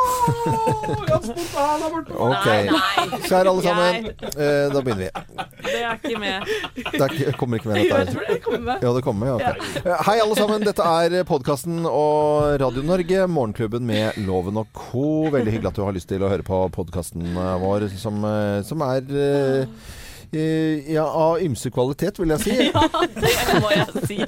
Jeg har spurt deg her der borte. Ok. Nei, nei. Kjære alle sammen, eh, da begynner vi. Det er ikke med. Det er ikke, kommer ikke med Jo, dette jeg her. tror det kommer med. Ja, det kommer, ja. ok. Eh, Hei, alle sammen. Dette er podkasten og Radio Norge, Morgenklubben med Loven og co. Veldig hyggelig at du har lyst til å høre på podkasten vår, som, eh, som er eh, eh, ja, av ymse kvalitet, vil jeg si. Det må jeg si.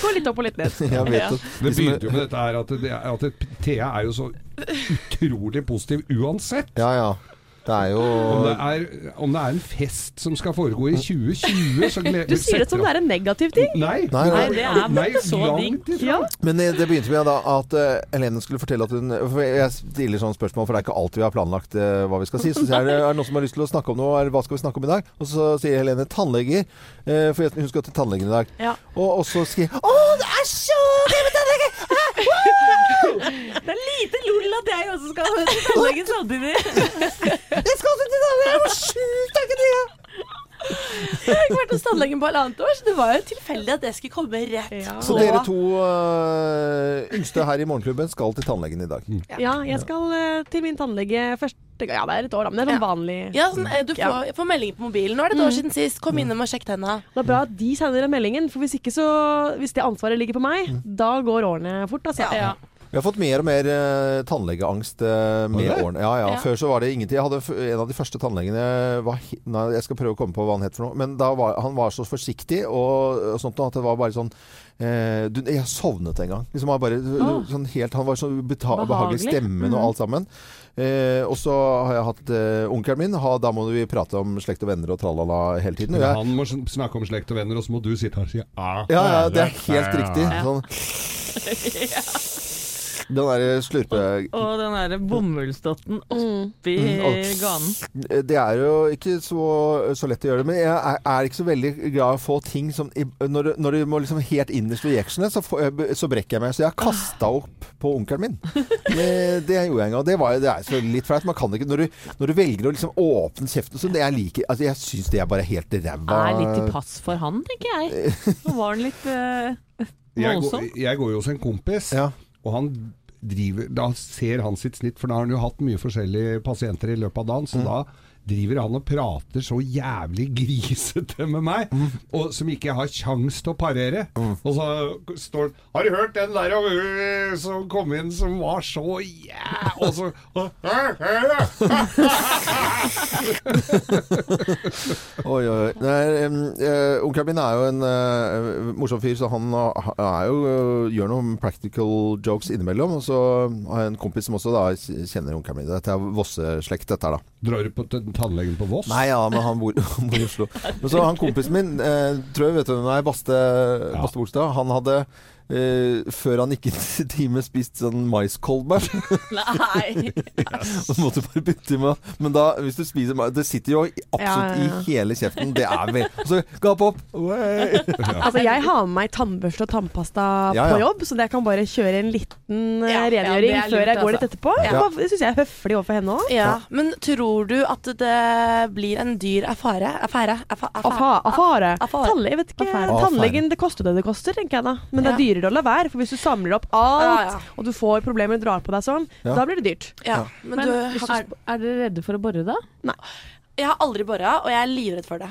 Gå litt opp og litt ned. Jeg vet Ja. at Det de som- begynte jo med dette her at, det, er- at det- Thea er jo så utrolig positiv uansett. Ja, ja. Det er Om jo det, er, om det er en fest som skal foregå i 2020, så gleder Du sier det som det er en negativ ting. Nei, Nei, nei. Nei, det er så langt digg. ifra. Ja. Men det, det begynte med da at eh, Helene skulle fortelle at hun for Jeg stiller sånne spørsmål, for det er ikke alltid vi har planlagt eh, hva vi skal si. Så sier jeg, er det er det noen som har lyst til å snakke om noe, eller hva skal vi snakke om i dag? Og så sier Helene tannleger, eh, for jeg- hun skal til tannlegen i dag. Ja. Og, og så skriver jeg Å, det er så gøy med tannlege! Det er lite lol at jeg også skal til tannlegen samtidig. Jeg skal også til tannlegen! Hvor sjukt er ikke det? Jeg har ikke vært hos tannlegen på halvannet år, så det var jo tilfeldig at det skulle komme rett Ja. på. Så dere to eh, yngste her i Morgenklubben skal til tannlegen i dag. ja, jeg skal eh, til min tannlege første gang. Ja, det er et år, da, men det er sånn vanlig. Ja, sånn, eh, du får, jeg får melding på mobilen. Nå er det et år siden sist. Kom innom og sjekk tenna. Det er bra at de sender den meldingen, for hvis ikke så Hvis det ansvaret ligger på meg, da går årene fort, altså. Ja. Vi har fått mer og mer eh, tannlegeangst eh, med Har du det? årene. Ja, ja. Ja. Før så var det ingenting. Jeg hadde f- en av de første tannlegene var, he- Nei, jeg skal prøve å komme på hva han het for noe. Men da var, han var så forsiktig og, og sånt noe at det var bare sånn eh, du, Jeg sovnet en gang. Liksom han, bare, sånn helt, han var så beta behagelig Mhm. Behagelig. stemmen og alt sammen. Eh, og så har jeg hatt eh, onkelen min. Ha, da må vi prate om slekt og venner og tralala hele tiden. Og jeg, Han må sn- snakke om slekt og venner, og så må du sitte her og si ah, ja, ja, det er helt riktig. Sånn. Den derre slurpe... Og den derre bomullsdotten oppi Mm. og- ganen. Det er jo ikke så, så lett å gjøre det, men jeg er, er ikke så veldig glad i å få ting som i- Når, det- når det må liksom helt innerst ved jeksene, så, får jeg- så brekker jeg meg. Så jeg har kasta Ah. opp på onkelen min. Det, det gjorde jeg en gang. Det, var, det er så litt flaut. Man kan ikke Når du, når du velger å liksom åpne kjeften så det jeg liker altså Jeg syns det er bare helt Er litt til ræva. pass for han, tenker jeg. Nå var han litt eh, jeg, går, voldsom. jeg går jo hos en kompis, Ja. og han driver, da ser han sitt snitt, for da har han jo hatt mye forskjellige pasienter i løpet av dagen, så da driver han og prater så jævlig grisete med meg, og som ikke jeg har kjangs til å parere. Og så står han Har du hørt den der øh, som kom inn som var så jæ... Og så og, Oi, oi, oi. Nei, em, eh, Onkelen min er jo en eh, morsom fyr, så han ha- er jo, eh, gjør noen practical jokes innimellom. Og så har jeg en kompis som også da, kjenner onkelen min. Dette er Vosse-slekt, dette her, da. Drar du på t- tannlegen på Voss? Nei, ja, men han bor, han bor i Oslo. Men så han kompisen min, eh, tror jeg vet du hvem er, Baste, Baste Bolstad, han hadde eh, før han gikk inn i time spist sånn maiskolbe. Nei. Så måtte du bare bytte med Men da, hvis du spiser mais Det sitter jo i- absolutt Ja, ja, ja. i hele kjeften. Det er vel Og så gap opp! Oi. Altså, jeg har med meg tannbørste og tannpasta Ja, ja. på jobb, så jeg kan bare kjøre en liten eh, Ja, ja, rengjøring det er lurt, før jeg altså. går litt etterpå. Ja. Det syns jeg er høflig overfor henne òg. Ja, men tror du at det blir en dyr affære? Affære? Affa- affa- Affare. Affære. Tannle, jeg vet ikke. Affære. Tannlegen, det koster det det koster, tenker jeg da. Men det er Ja. dyrere å la være, for hvis du samler opp alt, Ja, ja. og du får problemer og drar på deg sånn, Ja. da blir det dyrt. Ja, men Men du, er, er dere redde for å bore da? jeg har aldri bora, og jeg er livredd for det.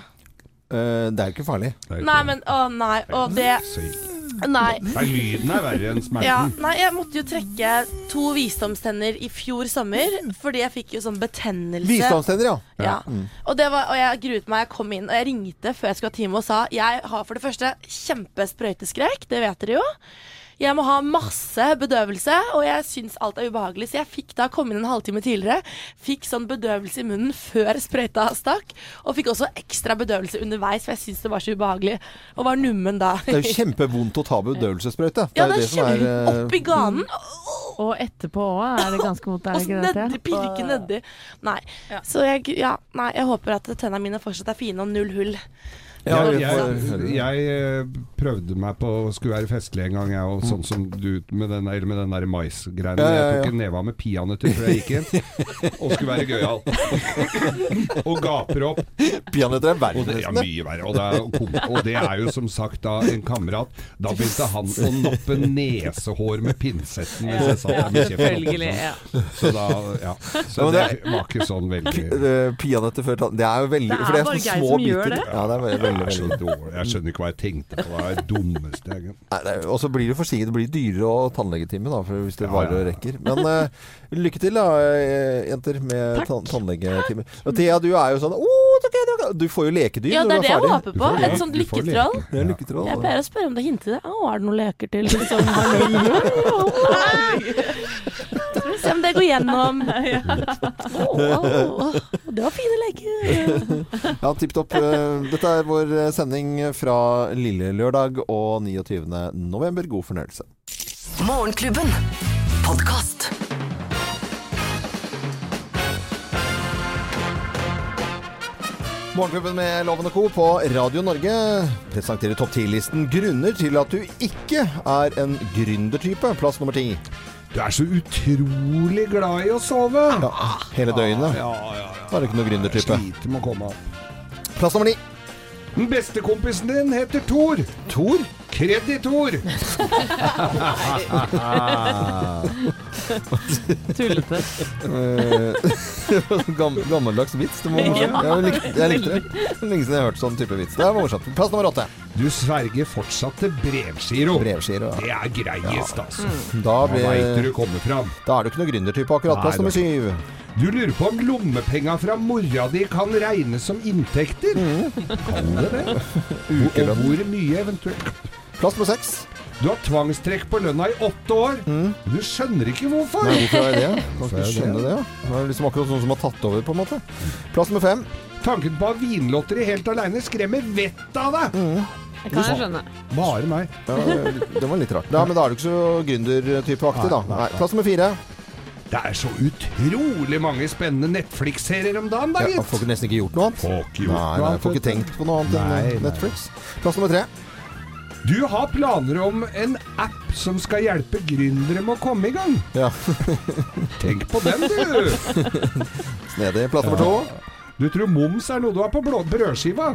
Eh, det er jo ikke farlig. Nei, Nei, men å nei, å det Sykt. Nei. Nei, lyden er verre enn smerten. Ja, nei, jeg måtte jo trekke to visdomstenner i fjor sommer, fordi jeg fikk jo sånn betennelse. Visdomstenner, ja. Mm. Ja. Og, det var, og jeg gruet meg. Jeg kom inn og jeg ringte før jeg skulle ha time og sa jeg har for det første kjempesprøyteskrekk, det vet dere jo. Jeg må ha masse bedøvelse, og jeg syns alt er ubehagelig. Så jeg fikk da komme inn en halvtime tidligere. Fikk sånn bedøvelse i munnen før sprøyta stakk. Og fikk også ekstra bedøvelse underveis, for jeg syns det var så ubehagelig. Og var nummen da. Det er jo kjempevondt å ta bedøvelsessprøyte. Ja, det er som er, kjempe eh, opp i ganen. Og etterpå òg Mm. er det ganske mot Og deg, så ikke det? nedi, pirke nedi. Nei. Så jeg, ja, nei, jeg håper at tennene mine fortsatt er fine og null hull. Ja, jeg, vi får jeg, høre. jeg eh, prøvde meg på å skulle være festlig en gang, jeg òg. Sånn som du med den, der- med den der Mm. maisgreiene. Ja, ja, ja. Jeg tok en neve av med peanøtter før jeg gikk inn, og skulle være gøyal. og gaper opp. Peanøtter er Og det, ja, verre. mye verre. Og det, er, kom- og det er jo som sagt da en kamerat. Da begynte han å nappe nesehår med pinsetten mens jeg satt der med kjeften Selvfølgelig. oppe. Ja. Så da, ja. Ja, Så men det det- var ikke sånn veldig Eh, Peanøtter før tann... Det er jo veldig Det er For det er bare sånne Geir små som gjør biter. det. Ja, det er veldig, Jeg er veldig, så veldig. dårlig. Jeg skjønner ikke hva jeg tenkte på. Det var det dummeste jeg Nei, det er- Og så blir det forsinket. Det blir dyrere å tannlegetime, da, for hvis det Ja, varer og ja, ja. rekker. Men eh, lykke til, da, eh, jenter, med tann tannlegetimer. Og Thea, du er jo sånn «Åh, det er gøy, det er gøy». Du får jo lekedyr Ja, det er det når du er jeg ferdig. håper på. får Et leke- sånt du får lykketroll. leke. Ja, lykketroll. Jeg pleier å spørre om det hintet. det. Å, er det noen leker til? Liksom, Se om det går gjennom. Å, å, å, det var fine leker. Ja, tipp topp. Eh, Dette er vår eh, sending fra lille lørdag og 29. november. God fornøyelse. Morgenklubben. Podkast. Morgenklubben med Loven og Co. på Radio Norge presenterer topp 10-listen grunner til at du ikke er en gründertype. Plass nummer ti. Du er så utrolig glad i å sove. Ja, hele døgnet. Ja, ja, ja. Da er du ikke noen Jeg gründertype. sliter med å komme opp. Plass nummer ni. Den beste kompisen din heter Thor. Tor. Kreditor. Tullete. Gam, Eh, gammeldags vits. Det må man si. Ja, jeg, likte, jeg likte det. Lenge siden jeg har hørt sånn type vits. Det var morsomt. Plass nummer åtte. Du sverger fortsatt til brevgiro. Brevskiro. Det Ja. er greiest, altså. Da, Da veit du blir- du kommer fram. da er du ikke noen gründertype akkurat. Plass Nei, nummer det syv. Du lurer på om lommepenga fra mora di kan regnes som inntekter? Kan det det? Og Ukelønn. hvor mye eventuelt? Plass nummer seks. Du har tvangstrekk på lønna i åtte år. Men du skjønner ikke hvorfor. Mm. Nei, hvorfor er det det? Kan Hvorfor ikke er det skjønne det? det. ja. Det er liksom akkurat noen som har tatt over, på en måte. Plass nummer fem. Tanken på å ha vinlotteri helt aleine skremmer vettet av deg. Det kan jeg skjønne. Bare meg. Ja, det var litt rart. Ja, men da er du ikke så gründertypeaktig, da. Nei, nei, Nei, plass nummer fire. Det er så utrolig mange spennende Netflix-serier om dagen, da, Ja, gitt. får ikke nesten ikke gjort noe annet. Får ikke gjort Nei, noe nei, annet, får vet ikke du. tenkt på noe annet Nei, nei. enn Netflix. Plass nummer tre. Du har planer om en app som skal hjelpe gründere med å komme i gang. Ja, Tenk på den, du. snedig. Plass nummer to. Du tror moms er noe du har på blå- brødskiva.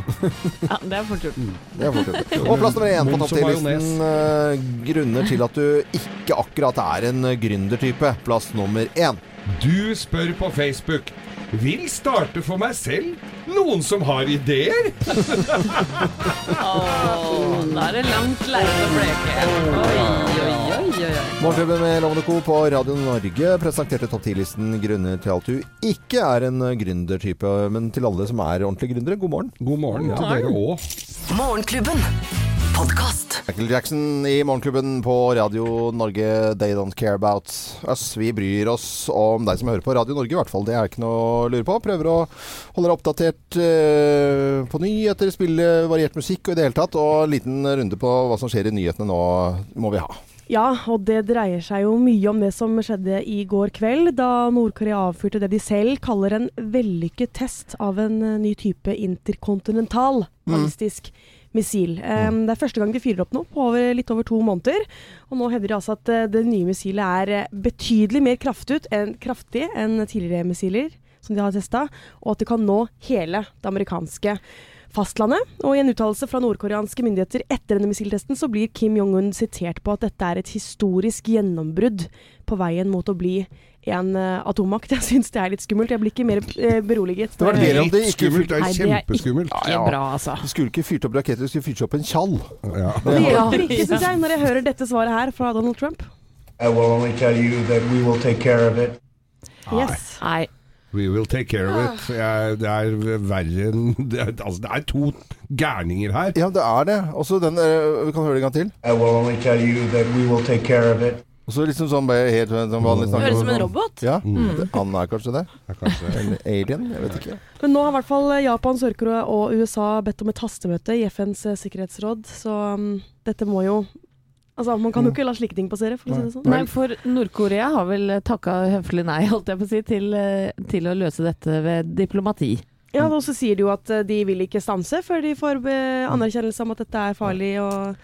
Ja, det er fort gjort. Det er fort gjort. Og plass nummer én på Moms topp og 10-listen. eh, Grunner til at du ikke akkurat er en eh, gründertype. Plass nummer én. Du spør på Facebook Vil starte for meg selv? Noen som har ideer? Åh, da er det langt lerret å bleke. Oi, oi, oi, oi. Morgenklubben med Lovende Co. på Radio Norge presenterte topp 10-listen grunner til at du ikke er en eh, gründertype. Men til alle som er ordentlige gründere, god morgen. God morgen til dere òg. Morgenklubben. Podkast. Michael Jackson i Morgenklubben på Radio Norge. They don't care about us. Vi bryr oss om deg som hører på Radio Norge, i hvert fall. Det er ikke noe å lure på. Prøver å holde deg oppdatert eh, på nyheter, spille variert musikk og i det hele tatt. Og en liten runde på hva som skjer i nyhetene nå, må vi ha. Ja, og det dreier seg jo mye om det som skjedde i går kveld, da Nord-Korea avfyrte det de selv kaller en vellykket test av en eh, ny type interkontinental ballistisk missil. Em, Mm. det er første gang de fyrer opp nå på over, litt over to måneder. Og nå hevder de altså at eh, det nye missilet er eh, betydelig mer kraftut enn, kraftig enn tidligere missiler som de har testa, og at det kan nå hele det amerikanske fastlandet. Og i en uttalelse fra nordkoreanske myndigheter etter denne missiltesten, så blir Kim Jong-un sitert på at dette er et historisk gjennombrudd på veien mot å bli en eh, atommakt. Jeg syns det er litt skummelt. Jeg blir ikke mer eh, beroliget. Det var det om de Litt ikke skummelt. Det er Nei, det er ikke- kjempeskummelt. Ikke bra, altså. De skulle ikke fyrt opp raketter, de skulle fyrt opp en tjall. Ja. Det hjelper ikke, syns jeg, når jeg hører dette svaret her fra Donald Trump. I will only tell you that we will take care of it. Ah, Yes. Nei. We will take care of it. Jeg, det er verre enn det, er- altså, det er to gærninger her. Ja, det er det. Og så den eh, Vi kan høre det en gang til. I will only tell you that we will take care of it. Og så liksom sånn bare helt sånn vanlig snakk. Mm. Høres ut som en robot. Ja. det- Han er kanskje det. Mm. Det er kanskje- En alien? Jeg vet ikke. Men nå har i hvert fall eh, Japan, Sør-Korea og USA bedt om et hastemøte i FNs sikkerhetsråd, så um, dette må jo Altså, man kan jo ikke la slike ting passere, for å si det sånn. Mm. Nei, for Nord-Korea har vel takka høflig nei, holdt jeg på å si, til, eh, til å løse dette ved diplomati. Ja, og så sier de jo at eh, de vil ikke stanse før de får eh, anerkjennelse om at dette er farlig og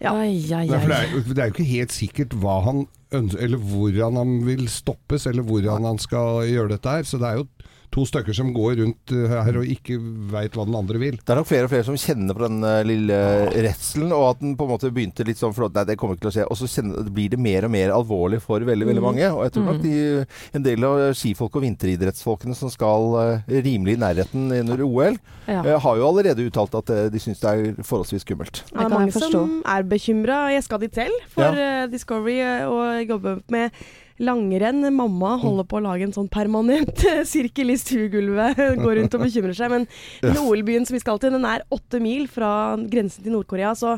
Ja. Ai, ai, Nei, for det, ai. er, jo- det er jo ikke helt sikkert hva han ønsker, eller hvordan han vil stoppes, eller hvordan han skal gjøre dette her. Så det er jo to stykker som går rundt eh, her og ikke veit hva den andre vil. Det er nok flere og flere som kjenner på den eh, lille redselen, og at den på en måte begynte litt sånn for at, Nei, det kommer ikke til å skje. Og så kjenner, blir det mer og mer alvorlig for veldig veldig mange. Og jeg tror nok de, en del av skifolk og vinteridrettsfolkene som skal eh, rimelig i nærheten under OL, Ja. eh, har jo allerede uttalt at eh, de syns det er forholdsvis skummelt. Det er kan mange jeg forstå. som er bekymra. Jeg skal dit selv for eh, Discovery eh, og jobber med langrenn. Mamma holder på å lage en sånn permanent eh, sirkel i stuegulvet. Går rundt og bekymrer seg. Men den OL-byen som vi skal til, den er åtte mil fra grensen til Nord-Korea. Så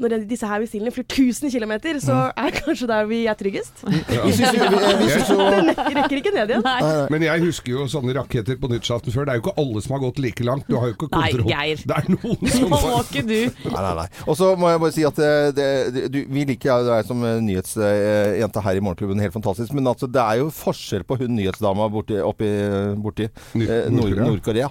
når den- disse her missilene flyr 1000 km, så er kanskje der vi er tryggest. Vi syns jo, vi, vi syns jo Vi rekker ikke ned igjen. Men jeg husker jo sånne raketter på nyttårsaften før. Det er jo ikke alle som har gått like langt. Du har jo ikke Nei, kontroll. Geir. Det er noen som Må har ikke du Nei, nei, nei. Og så må jeg bare si at eh, det, det, du, vi liker deg som eh, nyhetsjente her i Morgenklubben, helt fantastisk. Men altså, det er jo forskjell på hun nyhetsdama borti, oppi, borti Ny- eh, Nord- Nord-Korea.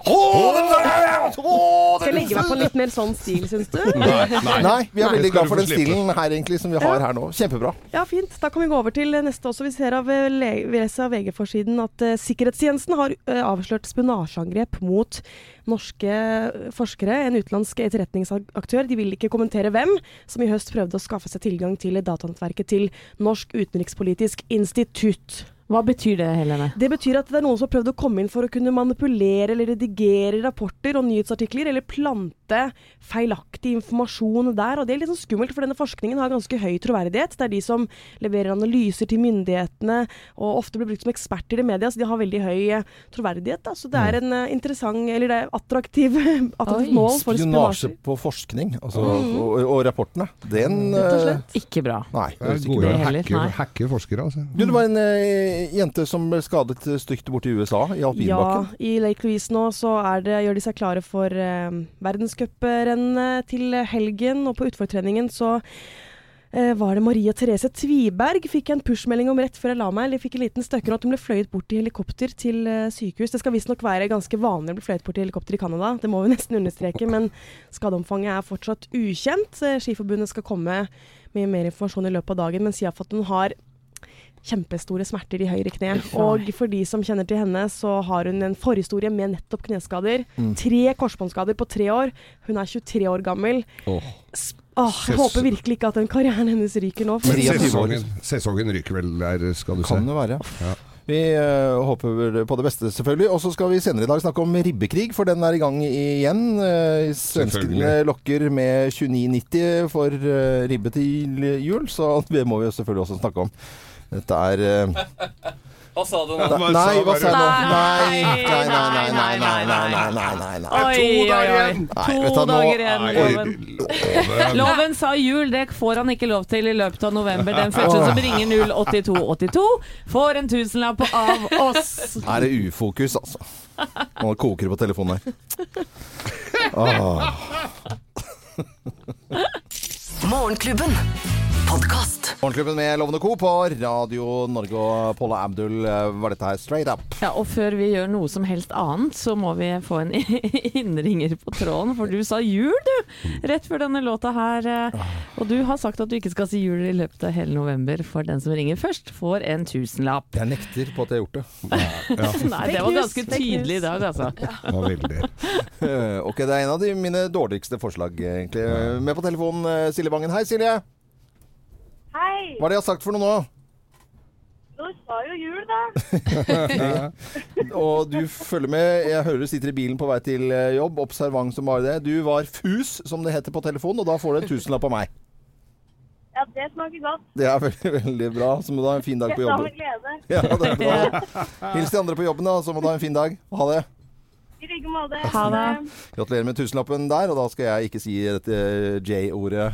Nord-Korea. Åh, den der! Åh, Skal den- jeg legge meg på litt mer sånn stil, syns du? Nei, vi er Nei, veldig skal glad du for den få slippe. stilen her egentlig som vi har her nå. Kjempebra. Ja, fint. Da kan vi gå over til neste også. Vi ser av, eh, le- vi leser av VG-forsiden at eh, sikkerhetstjenesten har eh, avslørt spionasjeangrep mot norske eh, forskere. En utenlandsk etterretningsaktør. De vil ikke kommentere hvem, som i høst prøvde å skaffe seg tilgang til datanettverket til Norsk utenrikspolitisk institutt. Hva betyr det, Helene? Det betyr at det er noen som har prøvd å komme inn for å kunne manipulere eller redigere rapporter og nyhetsartikler, eller plante feilaktig informasjon der. Og det er litt sånn skummelt, for denne forskningen har ganske høy troverdighet. Det er de som leverer analyser til myndighetene, og ofte blir brukt som eksperter i media, så de har veldig høy eh, troverdighet. Da. Så det er en eh, interessant, eller det er attraktiv, attraktiv Oi. mål for Spionasje spionasje. på forskning altså, og, og rapportene. Den Mm. Rett og eh, slett. Øh, Ikke bra. Nei. Det er høres ikke gode bra å ut. heller, hacke, nei. hacke forskere, altså. Du, det var en eh, jente som ble skadet eh, stygt borti USA, i Ja, alpinbakken. i Lake Louise nå så er det, gjør de seg klare for eh, verdenscuprennet til helgen. Og på utfortreningen så eh, var det Maria Therese Tviberg fikk en pushmelding om rett før jeg la meg. Eller fikk en liten støkker og at hun ble fløyet bort i helikopter til eh, sykehus. Det skal visstnok være ganske vanlig å bli fløyet bort i helikopter i Canada, det må vi nesten understreke. Men skadeomfanget er fortsatt ukjent. Eh, Skiforbundet skal komme med mer informasjon i løpet av dagen, men sier iallfall at hun har kjempestore smerter i høyre kne. Og for de som kjenner til henne, så har hun en forhistorie med nettopp kneskader. Tre korsbåndskader på tre år. Hun er 23 år gammel. S- Åh, jeg Søs- håper virkelig ikke at den karrieren hennes ryker nå. For Men- 23 år. Sesongen, sesongen ryker vel der, skal du Kan se. det være. Vi eh, håper på det beste, selvfølgelig. Og så skal vi senere i dag snakke om ribbekrig, for den er i gang igjen. Eh, Svenskene Selvfølgelig. lokker med 29,90 for eh, ribbe til jul, så det må vi jo selvfølgelig også snakke om. Dette er eh, Hva sa du da- nå? hva sa Nei, hva bare- sa jeg nå? Nei, Nei, nei, nei, nei, nei, nei, nei, nei, nei, nei, nei, nei. Nei, vet du, To nå- dager igjen Nei, med loven. loven. Loven sa jul, det får han ikke lov til i løpet av november. Den første som ringer 08282, får en tusenlapp av oss. Er det ufokus, altså? Nå koker det på telefonen her. Ah. Morgenklubben. Podkast. Morgenklubben med Lovende Co. på Radio Norge og Paula Abdul eh, var dette her straight up. Ja, og før vi gjør noe som helst annet, så må vi få en innringer på tråden, for du sa jul, du, rett før denne låta her. eh, Og du har sagt at du ikke skal si jul i løpet av hele november, for den som ringer først, får en tusenlapp. Jeg nekter på at jeg har gjort det. Nei, det var ganske tydelig i dag, altså. Det var veldig. Eh, Ok, det er en av de mine dårligste forslag, egentlig. Eh, Med på telefonen eh, Silje Vangen. Hei, Silje. Hei, Hva er det jeg har sagt for noe nå? du sa jo jul, da. Og du følger med. Jeg hører du sitter i bilen på vei til eh, jobb. Observant som bare det. Du var fus, som det heter på telefonen, og da får du en tusenlapp av meg. Ja, det smaker godt. Det er veldig, veldig bra. Så må du ha en fin dag Jeg på sa jobben. med glede. Ja, det er bra. Hils de andre på jobben, da, så må du ha en fin dag. Ha det. I like måte. Ha det. Gratulerer med tusenlappen der, og da skal jeg ikke si dette eh, J-ordet.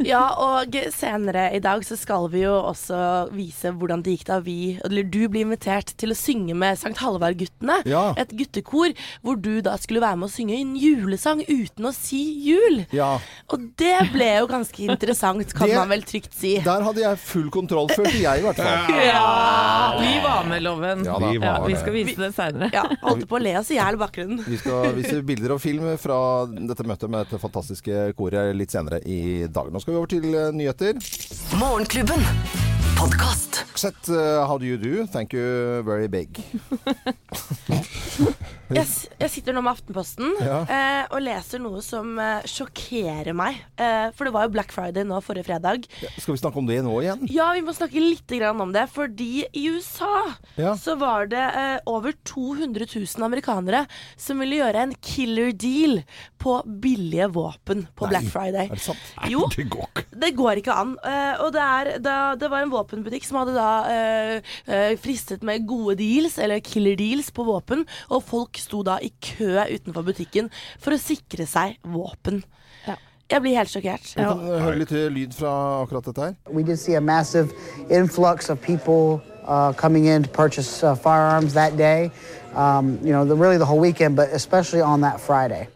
Ja, og senere i dag så skal vi jo også vise hvordan det gikk da vi, eller du ble invitert til å synge med Sankt Halvard-guttene. Ja. Et guttekor hvor du da skulle være med å synge en julesang uten å si jul. Ja. Og det ble jo ganske interessant, kan Det- man vel trygt si. Der hadde jeg full kontroll, følte jeg i hvert fall. Ja, vi var med, Loven. Ja da. Ja, Vi var vi det. skal vise det seinere. Ja, holdt på å le oss i hjel bak bakgrunnen. Vi skal vise bilder og film fra dette møtet med dette fantastiske koret litt senere i dag. Nå skal vi over til eh, nyheter. Morgenklubben. Podkast. Sett eh, How do you do? Thank you very big. Jeg, s- jeg sitter nå med Aftenposten Ja. eh, og leser noe som eh, sjokkerer meg. Eh, for det var jo Black Friday nå forrige fredag. Skal vi snakke om det nå igjen? Ja, vi må snakke litt grann om det, fordi i USA Ja. så var det eh, over 200 000 amerikanere som ville gjøre en killer deal på billige våpen på Black Friday. Er det sant? Jo, Det går ikke. det går ikke an. Eh, og det, er, da, det var en våpenbutikk som hadde da eh, eh, fristet med gode deals, eller killer deals, på våpen. Og folk sto da i kø utenfor butikken for å sikre seg våpen. Ja. Jeg blir helt sjokkert. Vi kan eh, høre litt eh, lyd fra akkurat dette her. We did see a massive influx of people uh, coming in to purchase uh, firearms that day. Um, you know, the, really the whole weekend, but especially on that Friday.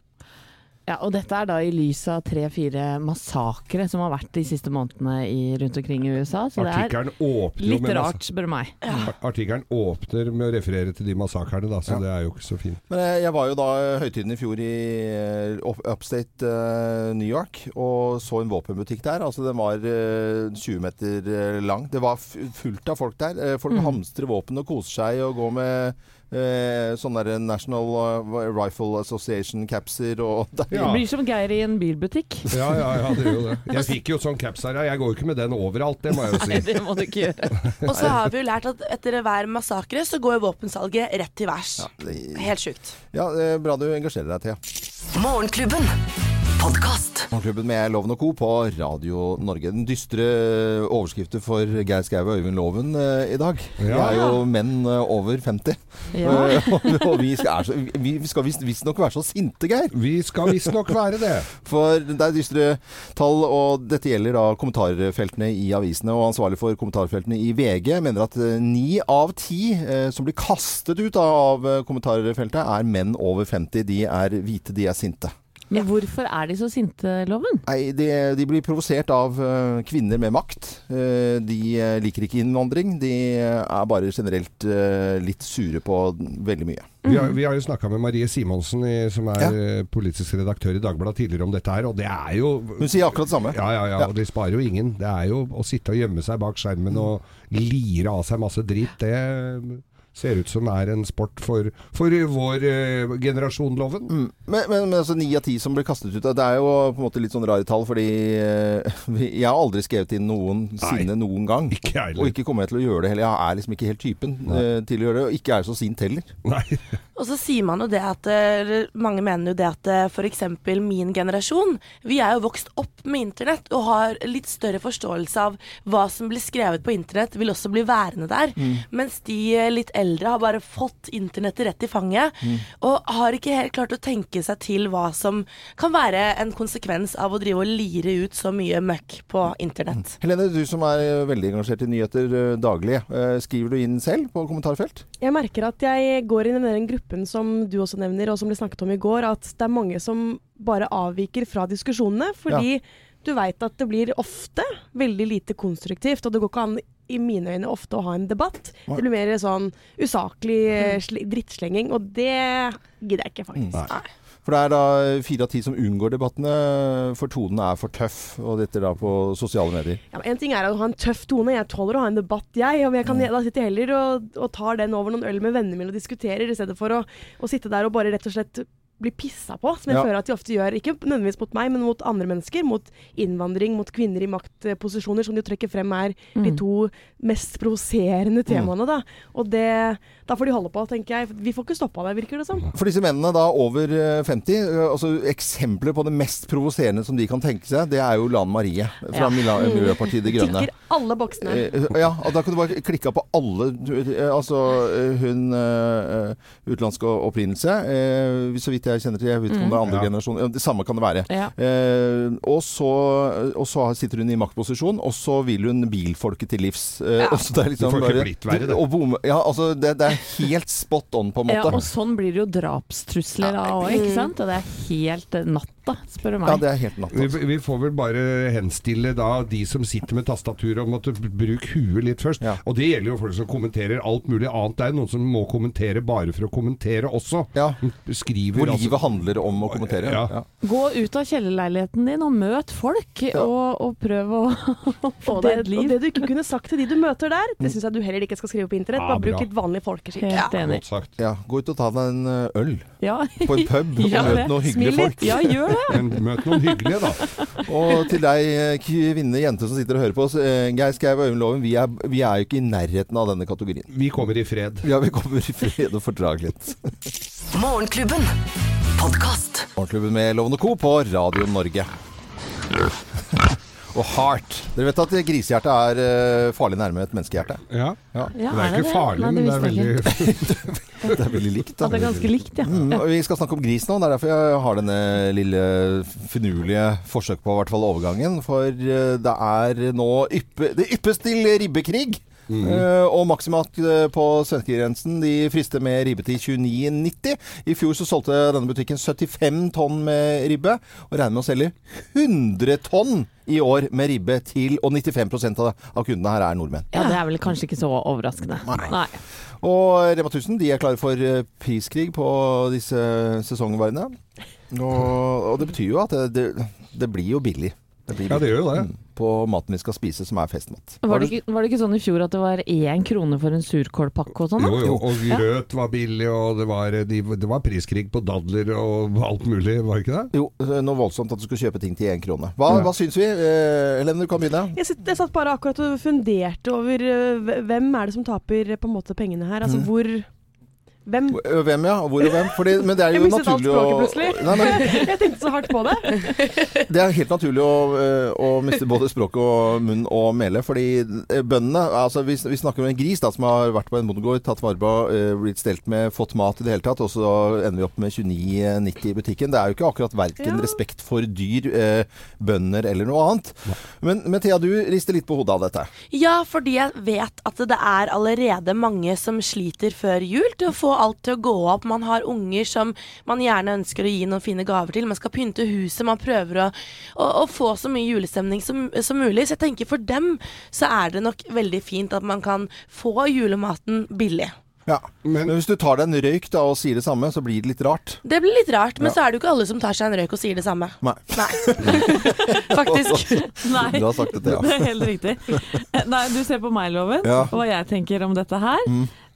Ja, og dette er da i lys av tre-fire massakre som har vært de siste månedene i, rundt omkring i USA. Så det er Artikkelen åpner jo litt med rart, spør du meg. masse- Artikkelen åpner med å referere til de massakrene, da, så det er jo ikke så fint. Men jeg, jeg var jo da eh, høytiden i fjor i eh, up- upstate eh, New York og så en våpenbutikk der. Altså den var eh, 20 meter eh, lang. Det var f- fullt av folk der. Eh, Folk hamstrer våpen og koser seg og går med eh, sånne der National eh, Rifle Association-capser og der. Ja. Det blir som Geir i en bilbutikk. Ja, ja, ja, det er jo det. Jeg fikk jo sånn caps her, ja. jeg går jo ikke med den overalt, det må jeg jo si. Nei, det må du ikke gjøre. Og så har vi jo lært at etter hver massakre så går våpensalget rett til værs. det- Helt sjukt. Ja, eh, bra du engasjerer deg, Thea. Morgenklubben. Podkast. Morgenklubben med Loven og Co. på Radio Norge. Den dystre overskriften for Geir Skau og Øyvind Loven eh, i dag. Vi Ja. er jo menn eh, over 50. Ja. Eh, og, og vi skal, er så, vi skal visst- visstnok være så sinte, Geir. Vi skal visstnok være det. For det er dystre tall, og dette gjelder da kommentarfeltene i avisene. Og ansvarlig for kommentarfeltene i VG mener at eh, ni av ti eh, som blir kastet ut av eh, kommentarfeltet, er menn over 50. De er hvite, de er sinte. Men hvorfor er de så sinte, Loven? Nei, de, de blir provosert av eh, kvinner med makt. Eh, de eh, liker ikke innvandring. De eh, er bare generelt eh, litt sure på veldig mye. Vi har, vi har jo snakka med Marie Simonsen, i, som er eh, politisk redaktør i Dagbladet, tidligere om dette her, og det er jo Hun sier akkurat det samme. ja, ja, ja, og de sparer jo ingen. Det er jo å sitte og gjemme seg bak skjermen og lire av seg masse drit, det ser ut som er en sport for, for vår eh, generasjon, Loven. Mm. Men, men, men altså, ni av ti som blir kastet ut Det er jo på en måte litt sånn rare tall, fordi eh, vi- jeg har aldri skrevet inn noensinne noen gang. Ikke jeg Og heller. ikke kommer jeg til å gjøre det heller. Jeg er liksom ikke helt typen eh, til å gjøre det. Og ikke er så sint heller. Nei. Og så sier man jo det at eller Mange mener jo det at eh, for eksempel min generasjon Vi er jo vokst opp med internett og har litt større forståelse av hva som blir skrevet på internett, vil også bli værende der. Mens de eh, litt eldre har bare fått internettet rett i fanget og har ikke helt klart å tenke seg til hva som kan være en konsekvens av å drive og lire ut så mye møkk på internett. Helene, du som er eh, veldig engasjert i nyheter eh, daglig. eh, skriver du inn selv på kommentarfelt? Jeg merker at jeg går inn i den gruppen som du også nevner, og som ble snakket om i går, at det er mange som bare avviker fra diskusjonene, fordi du veit at det blir ofte veldig lite konstruktivt, og det går ikke an i mine øyne ofte å ha en debatt. Det blir mer sånn usaklig eh, sli- drittslenging, og det gidder jeg ikke, Mm. faktisk. For det er da eh, fire av ti som unngår debattene, eh, for tonen er for tøff. Og dette da på sosiale medier. Ja, men en ting er å ha en tøff tone, jeg tåler å ha en debatt, jeg. Og jeg kan, da sitter jeg heller og, og tar den over noen øl med vennene mine og diskuterer, i stedet for å, å sitte der og bare rett og slett bli pissa på, som jeg Ja. føler at de ofte gjør. Ikke nødvendigvis mot meg, men mot andre mennesker. Mot innvandring, mot kvinner i maktposisjoner, som de trekker frem er de Mm. to mest provoserende temaene. Da. Og det, da får de holde på, tenker jeg. Vi får ikke stoppa deg, virker det som. For disse mennene da over eh, 50, eh, altså eksempler på det mest provoserende som de kan tenke seg, det er jo Lan Marie fra Ja. Mila- Miljøpartiet De Grønne. Tikker alle boksene. Eh, Ja, og da kan du bare klikke på alle eh, Altså eh, hun eh, utenlandsk opprinnelse, eh, så vidt jeg kjenner til. Jeg vet ikke om det er andre Ja. generasjon. eh, Det samme kan det være. Mm. Ja. Eh, og, så, og så sitter hun i maktposisjon, og så vil hun bilfolket til livs. Eh, og så det er liksom Du får ikke bare- blitt verre, det. Og bom, ja, altså, det, det er helt spot on, på en Ja, måte. og sånn blir det jo drapstrusler av òg, ikke sant? Og det er helt eh, natt da, spør du meg. Ja, altså. Vi, vi får vel bare henstille da de som sitter med tastaturet og måtte b- bruke huet litt først. Og det gjelder jo folk som kommenterer alt mulig annet. Det er noen som må kommentere bare for å kommentere også. Skriver, altså- Hvor livet handler om å kommentere. Ja. Gå ut av kjellerleiligheten din og møt folk, og, og prøv å, å få Og deg det, et og liv. det du ikke kunne sagt til de du møter der, det syns jeg du heller ikke skal skrive på internett. Mm. Ja, Bare bruk bra. litt vanlig folkeskikk. Ja, gå ut og ta deg en ø, øl. Ja. På en pub, og Ja, møt det. noen Smil hyggelige litt. folk. Ja, gjør det. Men møt noen hyggelige, da. Og til deg ø, kvinne, jente som sitter og hører på oss. ø, Geir Skau og Øyvind Loven, vi er, vi er jo ikke i nærheten av denne kategorien. Vi kommer i fred. Ja, vi kommer i fred og fordragelighet. Morgenklubben. Podkast. Morgenklubben med Loven og Co. på Radio Norge. Og heart. Dere vet at grisehjerte er ø, farlig nærme et menneskehjerte? Ja. Ja, Det er er ikke det det? farlig, Nei, det men det er visste veldig Det er veldig likt. Ja, det er ganske likt, ja. Mm, og vi skal snakke om gris nå. Det er derfor jeg har denne lille finurlige forsøk på i hvert fall overgangen. For eh, det er nå yppe, det yppes til ribbekrig. Eh, og Maximat eh, på svenskegrensen de frister med ribbe til 29,90. I fjor så solgte denne butikken 75 tonn med ribbe, og regner med å selge 100 tonn i år med ribbe til Og 95 av, av kundene her er nordmenn. Ja, det er vel kanskje ikke så overraskende. Nei. Og Rema 1000 de er klare for eh, priskrig på disse sesongvarene. Og, og det betyr jo at det, det, det blir jo billig. blir Ja, det billig. gjør jo det. Mm, På maten vi skal spise, som er festmat. Var det, ikke, var det ikke sånn i fjor at det var én krone for en surkålpakke og sånn? da? Jo, jo, og Ja. grøt var billig, og det var, eh, de, det var priskrig på dadler og alt mulig, var det ikke det? Jo, eh, noe voldsomt at du skulle kjøpe ting til én krone. Hva, hva syns vi? Eh, Helene, du kan begynne. Jeg, sitt, jeg satt bare akkurat og funderte over øh, hve- hvem er det som taper øh, på en måte pengene her. Altså Mhm. hvor Hvem? Ø, Hvem, ja? Hvor og hvem? Fordi, men det er Jeg jo mistet alt naturlig å språket plutselig. Nei, men, jeg tenkte så hardt på det. Det er helt naturlig å, eh, å miste både språk og munn og mele, fordi eh, bøndene altså Vi, vi snakker om en gris da, som har vært på en bondegård, tatt vare på, eh, blitt stelt med, fått mat i det hele tatt, og så ender vi opp med 29,90 i butikken. Det er jo ikke akkurat verken respekt for dyr, eh, bønder eller noe annet. Men, men Thea, du rister litt på hodet av dette. Ja, fordi jeg vet at det er allerede mange som sliter før jul til å få alt til å gå opp. Man har unger som man gjerne ønsker å gi noen fine gaver til. Man skal pynte huset. Man prøver å, å, å få så mye julestemning som, som mulig. Så jeg tenker for dem så er det nok veldig fint at man kan få julematen billig. Ja. Men, hvis du tar deg en røyk da, og sier det samme, så blir det litt rart. Det blir litt rart, men Ja. så er det jo ikke alle som tar seg en røyk og sier det samme. Nei. Faktisk. Nei. Du har sagt det, Thea. Det er helt riktig. Nei, du ser på meg, Loven, Ja. og hva jeg tenker om dette her.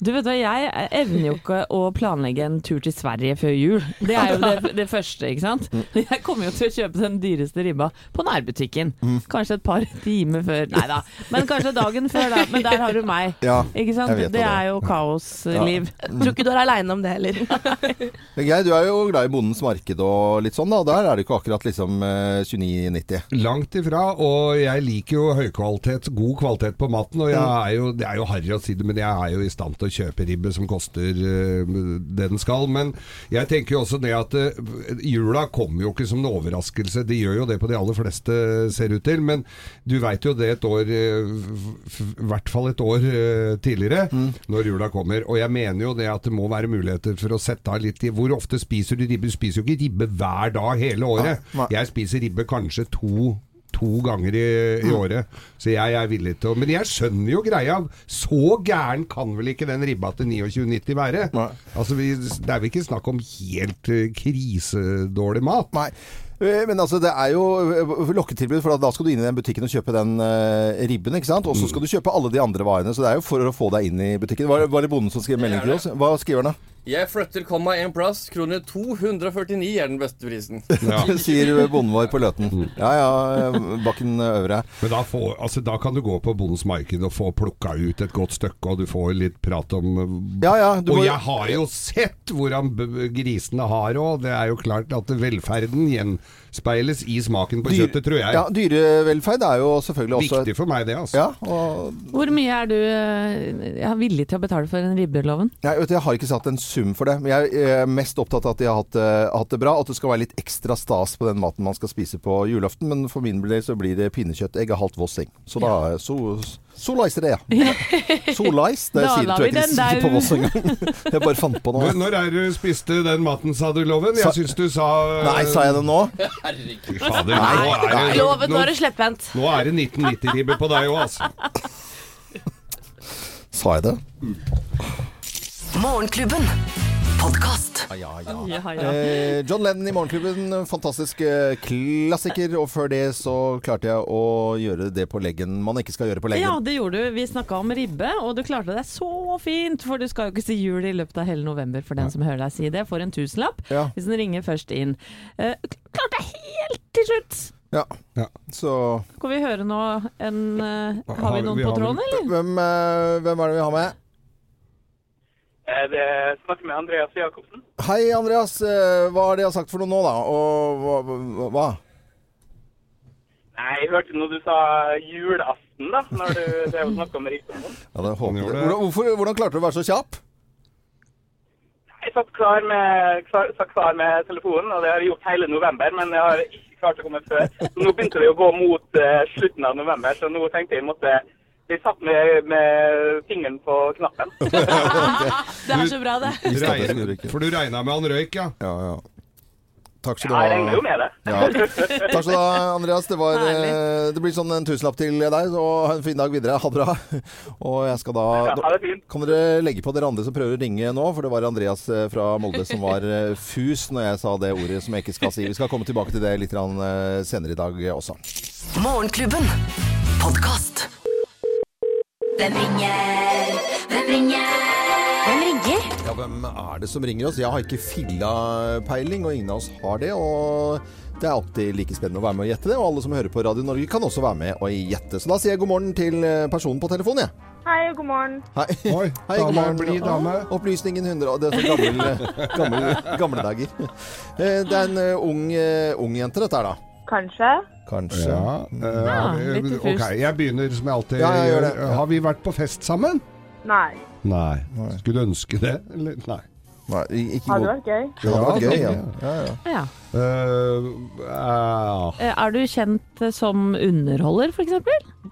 Du vet hva, Jeg evner jo ikke å planlegge en tur til Sverige før jul. Det er jo det, det første, ikke sant. Jeg kommer jo til å kjøpe den dyreste ribba på nærbutikken. Kanskje et par timer før. Nei da, men kanskje dagen før, da. Men der har du meg. Ja, ikke sant? jeg vet Det hva er det er. jo kaosliv. Tror ikke du er aleine om det heller. Men Geir, du er jo glad i Bondens marked og litt sånn, da. Der er det ikke akkurat liksom eh, 29,90. Langt ifra, og jeg liker jo høykvalitet, god kvalitet på maten. Og jeg er jo, det er jo harry å si det, men jeg er jo i stand til å kjøpe ribbe som koster eh, det den skal. Men jeg tenker jo også det at eh, jula kommer jo ikke som en overraskelse. De gjør jo det på de aller fleste, ser ut til. Men du veit jo det et år, eh, i hvert fall et år eh, tidligere, Mm. når jula kommer. Og jeg mener jo det at det må være muligheter for å sette av litt i Hvor ofte spiser du ribbe? Du spiser jo ikke ribbe hver dag hele året. Nei, nei. Jeg spiser ribbe kanskje to To ganger i, i året. Så jeg er villig til å Men jeg skjønner jo greia. Så gæren kan vel ikke den ribba til 29,90 være? Altså, vi, Det er vel ikke snakk om helt eh, krisedårlig mat? Nei. Eh, Men altså, det er jo eh, lokketilbud, for da skal du inn i den butikken og kjøpe den eh, ribben, ikke sant? Og Mm. så skal du kjøpe alle de andre varene, så det er jo for å få deg inn i butikken. Var, var det bonden som skrev melding til oss? Hva skriver han da? Jeg flytter komma en plass. Kroner 249 er den beste prisen. Sier bonden vår på Løten. Mm. Ja ja, eh, Bakken Øvre. Men da, får, altså, da kan du gå på Bondens marked og få plukka ut et godt stykke, og du får litt prat om eh, Ja, ja, du Og må- jeg har jo sett hvordan b- b- grisene har òg. Det er jo klart at velferden gjenspeiles i smaken på kjøttet, tror jeg. Ja, dyrevelferd er jo selvfølgelig også Viktig for meg, det. altså. Ja, og Hvor mye er du eh, ja, villig til å betale for en ribbeloven? Nei, vet du, jeg har ikke satt en s- sum for det. Men jeg er mest opptatt av at de har hatt, det- hatt det bra, og at det skal være litt ekstra stas på den maten man skal spise på julaften. Men for min del så blir det pinnekjøttegg og halvt vossing. Så da så, så leiser det, ja. Så leis, det Da sier lar tror jeg ikke vi de den sier der. på Voss engang. Jeg bare fant på noe. Når, når er du spiste den maten, sa du, Loven? Jeg Sa- syns du sa Nei, sa jeg det nå? Fy fader, Nei, nå er det Loven, nå nå- er det slepphendt. Nå er det 1990-ribbe på deg òg, altså. Sa jeg det? Morgenklubben. Podkast. Ja, ja. Eh, John Lennon i Morgenklubben, fantastisk eh, klassiker. Og før det så klarte jeg å gjøre det på leggen man ikke skal gjøre på Ja, leggen. det gjorde du. Vi snakka om ribbe, og du klarte deg så fint! For du skal jo ikke si jul i løpet av hele november, for den som hører deg si det. For en tusenlapp, Ja. hvis den ringer først inn. Eh, klarte deg helt til slutt! Ja. Ja. Så Skal vi høre nå en eh, Har vi Har- noen vi på har vel- tråden, eller? hvem, eh, hvem er det vi har med? Eh, Det snakker med Andreas Jacobsen. Hei, Andreas. Eh, Hva har det jeg har sagt for noe nå, da? Og hva? hva? Nei, jeg hørte noe du sa julaften, da, når du drev og snakka med Rikdommen. Ja, det håper jeg. gjorde det. Hvordan, hvorfor, hvordan klarte du å være så kjapp? Jeg satt klar med, klar, satt klar med telefonen, og det har jeg gjort hele november, men jeg har ikke klart å komme før. Så nå begynte det å gå mot eh, slutten av november, så nå tenkte jeg måtte bli satt med, med fingeren på knappen. Det er så bra, det. Regner, for du regna med han røyk, ja? Ja, ja. Takk skal du Ja, ha. jeg regner jo med det. Ja. Takk skal du ha, Andreas. Det, var, eh, det blir sånn en tusenlapp til deg, og ha en fin dag videre. Ha det bra. Og jeg skal da Ja, ha det fint. Kan dere legge på dere andre som prøver å ringe nå, for det var Andreas eh, fra Molde som var eh, fus når jeg sa det ordet som jeg ikke skal si. Vi skal komme tilbake til det litt grann, eh, senere i dag også. Morgenklubben. Podkast. Hvem ringer? Hvem ringer? Hvem ringer? Ja, hvem er det som ringer oss? Jeg har ikke filla peiling, og ingen av oss har det. Og det er alltid like spennende å være med og gjette det. Og alle som hører på Radio Norge kan også være med og gjette. Så da sier jeg god morgen til eh, personen på telefonen, jeg. Hei og god morgen. Hei. Oi, Hei, god dame, morgen. blid dame. Opplysningen 100 Det er så gamle, gamle, gamle dager. Eh, Det er en eh, ung, eh, ung jente, dette her, da. Kanskje. Kanskje. Ja, eh, Ja, har vi- litt diffust. ok, jeg begynner som jeg alltid Ja, ja, gjør gjør. det. Ja. Har vi vært på fest sammen? Nei. Nei. Skulle du ønske det? Eller? Nei. Nei, i- ikke Hadde god. vært gøy. Det hadde vært Ja, gøy, ja. det- ja, ja. Ja. Eh, eh, Eh, Er du kjent eh, som underholder, f.eks.?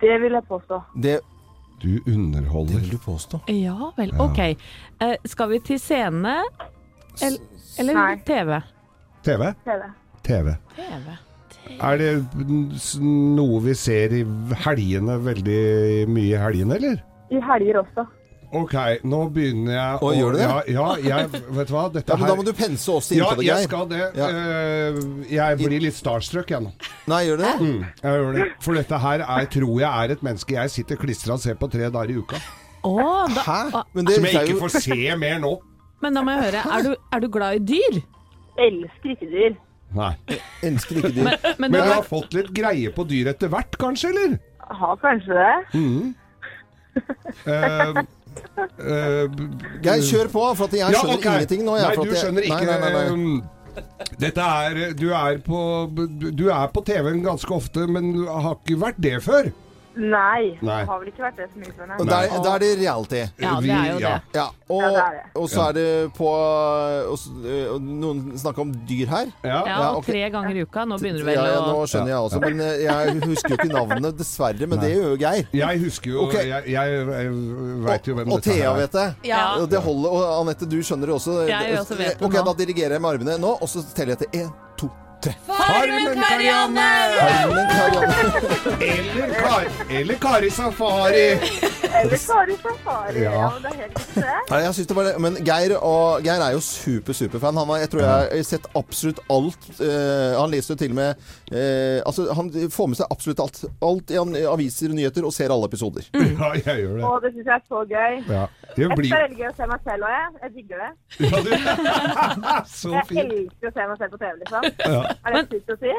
Det vil jeg påstå. Det, du underholder. vil du påstå. Ja vel. Ja. Ok. Eh, skal vi til scene El- eller Nei. TV? TV? TV. TV. TV. Er det n- s- noe vi ser i helgene, veldig mye i helgene, eller? I helger også. Ok, nå begynner jeg Å, gjør du det? Ja, ja jeg, vet du hva? Dette Ja, men her da må du pense oss inn Ja, på det, jeg Geir. skal det. Ja. Eh, Jeg blir litt starstruck, jeg nå. Nei, gjør du det? Mm, jeg gjør det. For dette her er, tror jeg er et menneske jeg sitter klistra og ser på tre dager i uka. Å, da, Hæ? ah, Men det Som jeg er jo- ikke får se mer nå. men da må jeg høre, er du, er du glad i dyr? Elsker ikke dyr. Nei. Elsker ikke dyr. Men, Men du jeg har har fått litt greie på dyr etter hvert, kanskje, eller? Har kanskje det. Eh, eh, Geir, kjør på, for at jeg skjønner ok. ingenting nå. Jeg, nei, for at du jeg- skjønner ikke. Nei, nei, nei, nei. eh, Dette er Du er på Du er på TV-en ganske ofte, men du har ikke vært det før. Nei. Nei. Har vel ikke vært det så mye eh, før, Og nei. der, der er det reality. Ja, det er jo ja. det. Ja, og, Ja, det er det. og så er det på eh, og, s- og Noen snakker om dyr her. Ja. ja, Ja, ok. tre ganger i uka. Nå begynner du vel Ja, ja, å nå skjønner jeg også, men eh, jeg husker jo ikke navnene, dessverre. Men det gjør jo Geir. Jeg husker jo Ok. Jeg, jeg, jeg veit jo Og, hvem og dette her Thea er. vet det. Ja. Og Det holder, og Anette, du skjønner det også. Eh, Jeg gjør også vet det ok, nå. Da dirigerer jeg med armene nå, og så teller jeg til én, to, tre. Farmen Karianne! Armen, Karianne. Eller, Kar eller Kari Safari! Eller Kari Safari. Ja. Ja. men det er helt riktig, det. Nei, jeg synes det var det. Men Geir, og, Geir er jo super, superfan. Han har, jeg tror jeg har sett absolutt alt. eh, han leser jo til og med eh, altså, Han får med seg absolutt alt. Alt i an- aviser og nyheter, og ser alle episoder. Ja, jeg gjør det. Og det syns jeg er så gøy. Ja. Det Jeg blir skal velge å se meg selv òg, jeg. Jeg digger det. ja, du- Så Jeg fint. elsker å se meg selv på TV, liksom. Ja. Er det sykt å si?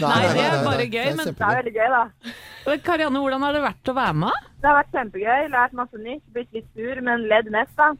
Nei, det er bare nei, gøy, det er men- Det er kjempegøy. veldig gøy, da. Men Karianne, hvordan har det vært å være med? Det har vært kjempegøy. Lært masse nytt. Blitt litt sur, men ledd mest, da.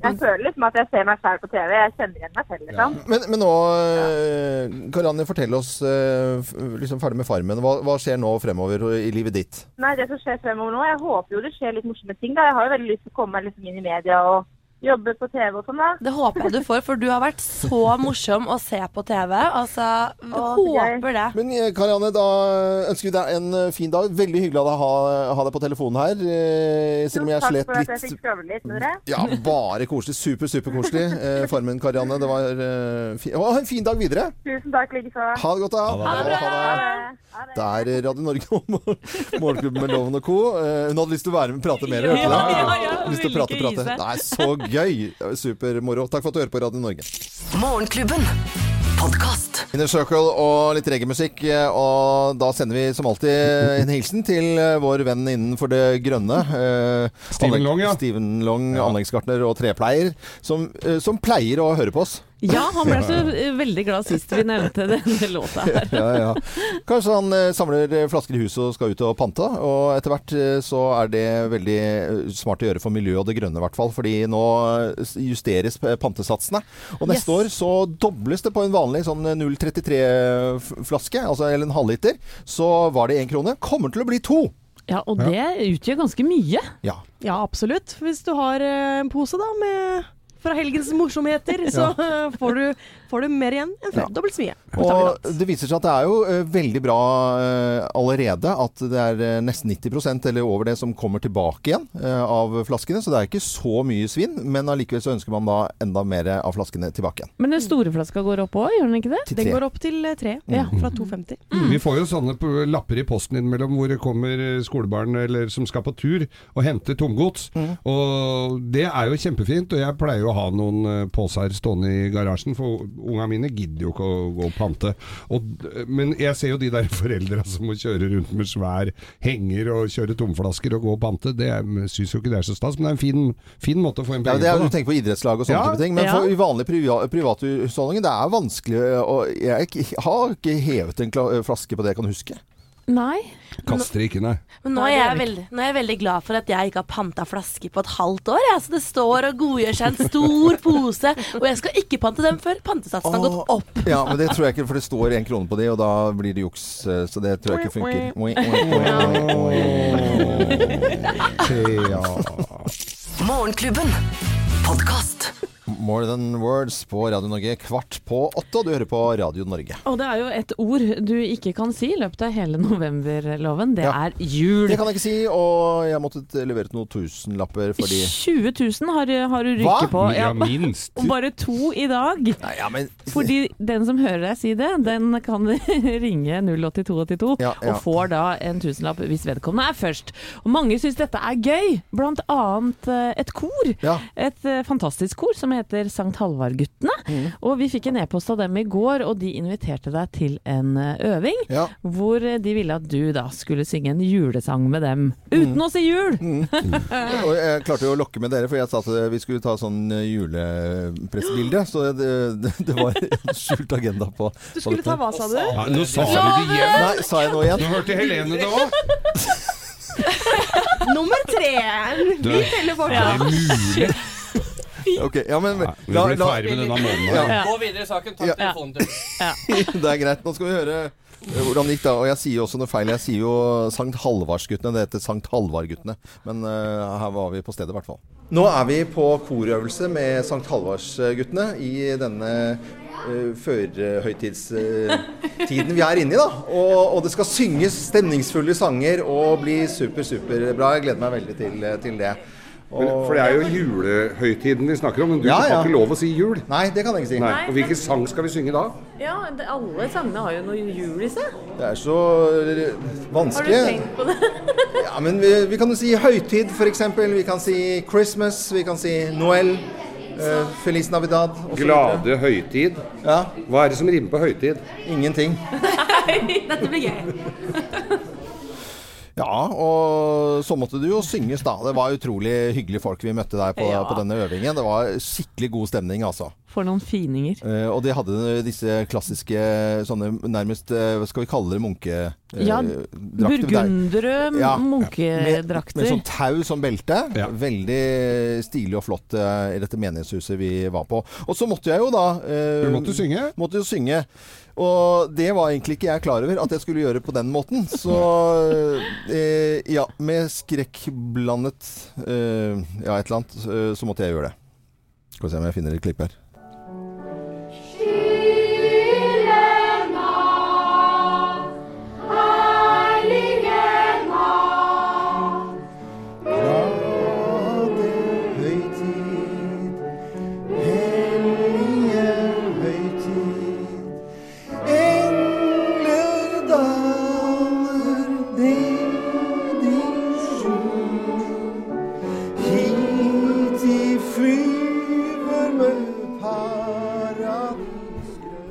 Jeg føler liksom at jeg ser meg selv på TV. Jeg kjenner igjen meg selv, liksom. Men, men nå, eh, Karianne, fortell oss, eh, f- liksom ferdig med Farmen, hva, hva skjer nå fremover i livet ditt? Nei, det som skjer fremover nå, jeg håper jo det skjer litt morsomme ting, da. Jeg har jo veldig lyst til å komme meg liksom inn i media og Jobbe på TV og sånn, da. Det håper jeg du får, for du har vært så morsom å se på TV. Altså, håper det. Men eh, Karianne, da ønsker vi deg en eh, fin dag. Veldig hyggelig av deg å ha, ha deg på telefonen her. eh, Selv om jeg Takk slet for at jeg litt fikk skravle litt med dere. Ja, bare koselig. Super, super koselig. Eh, Formen, Karianne. Det var eh, fi Å, ha en fin dag videre. Tusen takk likeså. Ha det godt, da. Ha det bra. Det er Radio Norge og Mor- Morgenklubben med Loven og co. Eh, Hun hadde lyst til å være med og prate mer. Ja, vet du det? ja, ja, hun lyst til å ville prate, ikke gi prate. seg. Nei, så gøy! Supermoro. Takk for at du hører på Radio Norge. Morgenklubben. Podkast. Inner Circle og litt reggaemusikk. eh, Og da sender vi som alltid en hilsen til eh, vår venn innenfor det grønne. eh, Steven anlegg- Long, ja. Steven Long, anleggsgartner og trepleier, som, eh, som pleier å høre på oss. Ja, han ble så eh, veldig glad sist vi nevnte denne låta her. ja, ja. Kanskje han eh, samler eh, flasker i huset og skal ut og pante. Og etter hvert eh, så er det veldig eh, smart å gjøre for miljøet og det grønne i hvert fall. Fordi nå eh, s- justeres eh, pantesatsene. Og Yes. neste år så dobles det på en vanlig sånn 0,33-flaske, altså eller en halvliter. Så var det én krone. Kommer til å bli to! Ja, og det utgjør ganske mye. Ja. Ja, absolutt. Hvis du har eh, en pose da med fra helgens morsomheter, så eh, får, du, får du mer igjen enn før. Dobbelt så mye. Og det viser seg at det er jo eh, veldig bra eh, allerede at det er eh, nesten 90 eller over det som kommer tilbake igjen eh, av flaskene. Så det er ikke så mye svinn, men allikevel så ønsker man da enda mer av flaskene tilbake igjen. Men den store flaska går opp òg, gjør den ikke det? Til Den tre. går opp til eh, tre, ja, fra 2,50. Mm. Vi får jo sånne p- lapper i posten innimellom hvor det kommer eh, skolebarn eller som skal på tur og henter tomgods. Mm. Og det er jo kjempefint, og jeg pleier jo å ha noen eh, poser stående i garasjen, for unga mine gidder jo ikke å gå og pante. Og, d- men jeg ser jo de der foreldra som må kjøre rundt med svær henger og kjøre tomflasker og gå og pante. Det syns jo ikke det er så stas, men det er en fin, fin måte å få en Ja, penge det er, på. du tenker på idrettslag og sånne Ja. type ting, men Ja. for i vanlige priva, privathusholdninger det er vanskelig eh, å Jeg ikke- har ikke hevet en kla- eh, flaske på det jeg kan huske. Nei. Kaster ikke, nei. Men nå er, jeg veldig, nå er jeg veldig glad for at jeg ikke har panta flasker på et halvt år. Jeg. Så det står og godgjør seg en stor pose, og jeg skal ikke pante dem før pantesatsen har gått opp. Ja, men det tror jeg ikke, for det står én krone på de, og da blir det juks. eh, Så det tror jeg ikke funker. Oi, oi, oi, oi. Ja. Morgenklubben. Podkast. More Than Words på Radio Norge kvart på åtte, og du hører på Radio Norge. Og det er jo et ord du ikke kan si i løpet av hele novemberloven. Det er jul. Det kan jeg ikke si, og jeg måtte levere ut noen tusenlapper fordi 20 000 har, har du Hva? rykket på. Ja, minst. Og bare to i dag. Fordi den som hører deg si det, den kan ringe 08282 ja. og får da en tusenlapp hvis vedkommende er først. Og mange syns dette er gøy, blant annet eh, et kor. Et eh, fantastisk kor som heter Sankt Halvard-guttene. Mm. Og vi fikk en e-post av dem i går, og de inviterte deg til en eh, øving hvor eh, de ville at du da skulle synge en julesang med dem. Uten å si jul! Og jeg klarte jo å lokke med dere, for jeg sa at vi skulle ta sånn julepressebilde. Så det, det, det var en skjult agenda på Du skulle ta hva, sa du? Ja, nå sa Loven! vi det igjen. Nei, sa jeg noe igjen? Nå hørte Helene det òg. Nummer tre! Du, Vi teller fortsatt. mulig? Ok, ja, men la, vi blir ferdig med denne måneden her. Ja. Gå videre i saken. Takk Ja. telefonen til Det er greit. Nå skal vi høre eh, hvordan det gikk da. Og jeg sier jo også noe feil. Jeg sier jo Sankt Halvardsguttene. Det heter Sankt Halvardguttene. Men eh, her var vi på stedet, i hvert fall. Nå er vi på korøvelse med Sankt Halvardsguttene i denne eh, førhøytidstiden vi er inne i, da. Og, og det skal synges stemningsfulle sanger og bli super, superbra. Jeg gleder meg veldig til, til det. Men, Og- for det er jo julehøytiden vi snakker om, men du Ja, ja. har ikke lov å si jul. Nei, det kan jeg ikke si. Nei. Og hvilken sang skal vi synge da? Ja, alle sangene har jo noe jul i seg. Det er så eh, vanskelig. på det? Ja, men vi, vi kan jo si høytid, f.eks. Vi kan si Christmas, vi kan si Noel, eh, Feliz Navidad og så videre. Glade høytid. Hva er det som rimer på høytid? Ingenting. Dette blir gøy. Ja, og så måtte du jo synges, da. Det var utrolig hyggelige folk vi møtte der på, Ja. på denne øvingen. Det var skikkelig god stemning, altså. For noen fininger. Eh, og de hadde disse klassiske sånne nærmest eh, Hva skal vi kalle det? eh, Munkedrakter? Ja, burgundere Ja. munkedrakter. Med sånn tau som belte. Veldig stilig og flott eh, i dette menighetshuset vi var på. Og så måtte jeg jo da eh, Du måtte synge? Måtte jo synge. Og det var egentlig ikke jeg klar over at jeg skulle gjøre på den måten. Så eh, ja, med skrekkblandet eh, ja, et eller annet, eh, så måtte jeg gjøre det. Skal vi se om jeg finner et klipp her.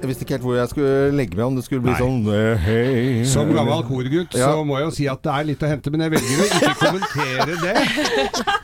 Jeg visste ikke helt hvor jeg skulle legge meg, om det skulle bli sånn eh, hei, Som hei. gammel korgutt Ja. så må jeg jo si at det er litt å hente, men jeg velger å ikke kommentere det.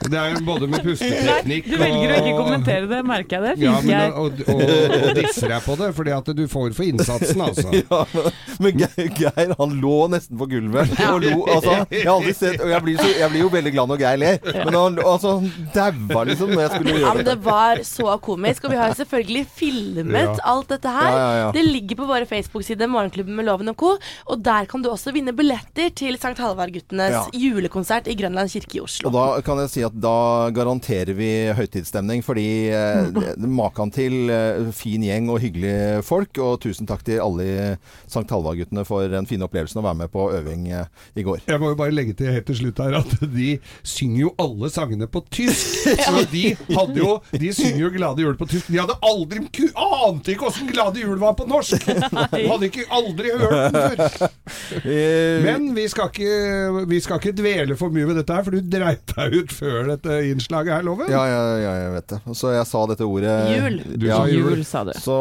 Det er jo både med Nei, pusteteknikk du velger å ikke kommentere det, merker jeg det. Ja, men, jeg. og, og, og disser jeg på det, fordi at du får for innsatsen, altså. Ja, men- men Geir, Geir, han lå nesten på gulvet og lo. Altså, jeg har aldri sett Og jeg blir, så, jeg blir jo veldig glad når Geir ler, men han altså, han daua liksom når jeg skulle Ja, gjøre men det. det var så komisk, og vi har jo selvfølgelig filmet Ja. alt dette her. Ja, ja, ja. Det ligger på våre Facebook-side, Morgenklubben med Loven og co., og der kan du også vinne billetter til Sankt Halvard-guttenes Ja. julekonsert i Grønland kirke i Oslo. Og da kan jeg si at da garanterer vi høytidsstemning, fordi eh, det- maken til eh, fin gjeng og hyggelige folk. Og tusen takk til alle i Sankt Halvard-guttene for den fine opplevelsen å være med på øving eh, i går. Jeg må jo bare legge til helt til slutt her at de synger jo alle sangene på tysk. Så de hadde jo De synger jo 'Glade jul' på tysk. De hadde aldri ku- Ante ikke åssen 'Glade jul' var på norsk! Hadde ikke aldri hørt den før. Men vi skal, ikke, vi skal ikke dvele for mye ved dette her, for du dreit deg ut før dette innslaget her, Loven. Ja, ja, ja, jeg vet det. Så jeg sa dette ordet Jul. Du sa jul. Jul, sa du. Så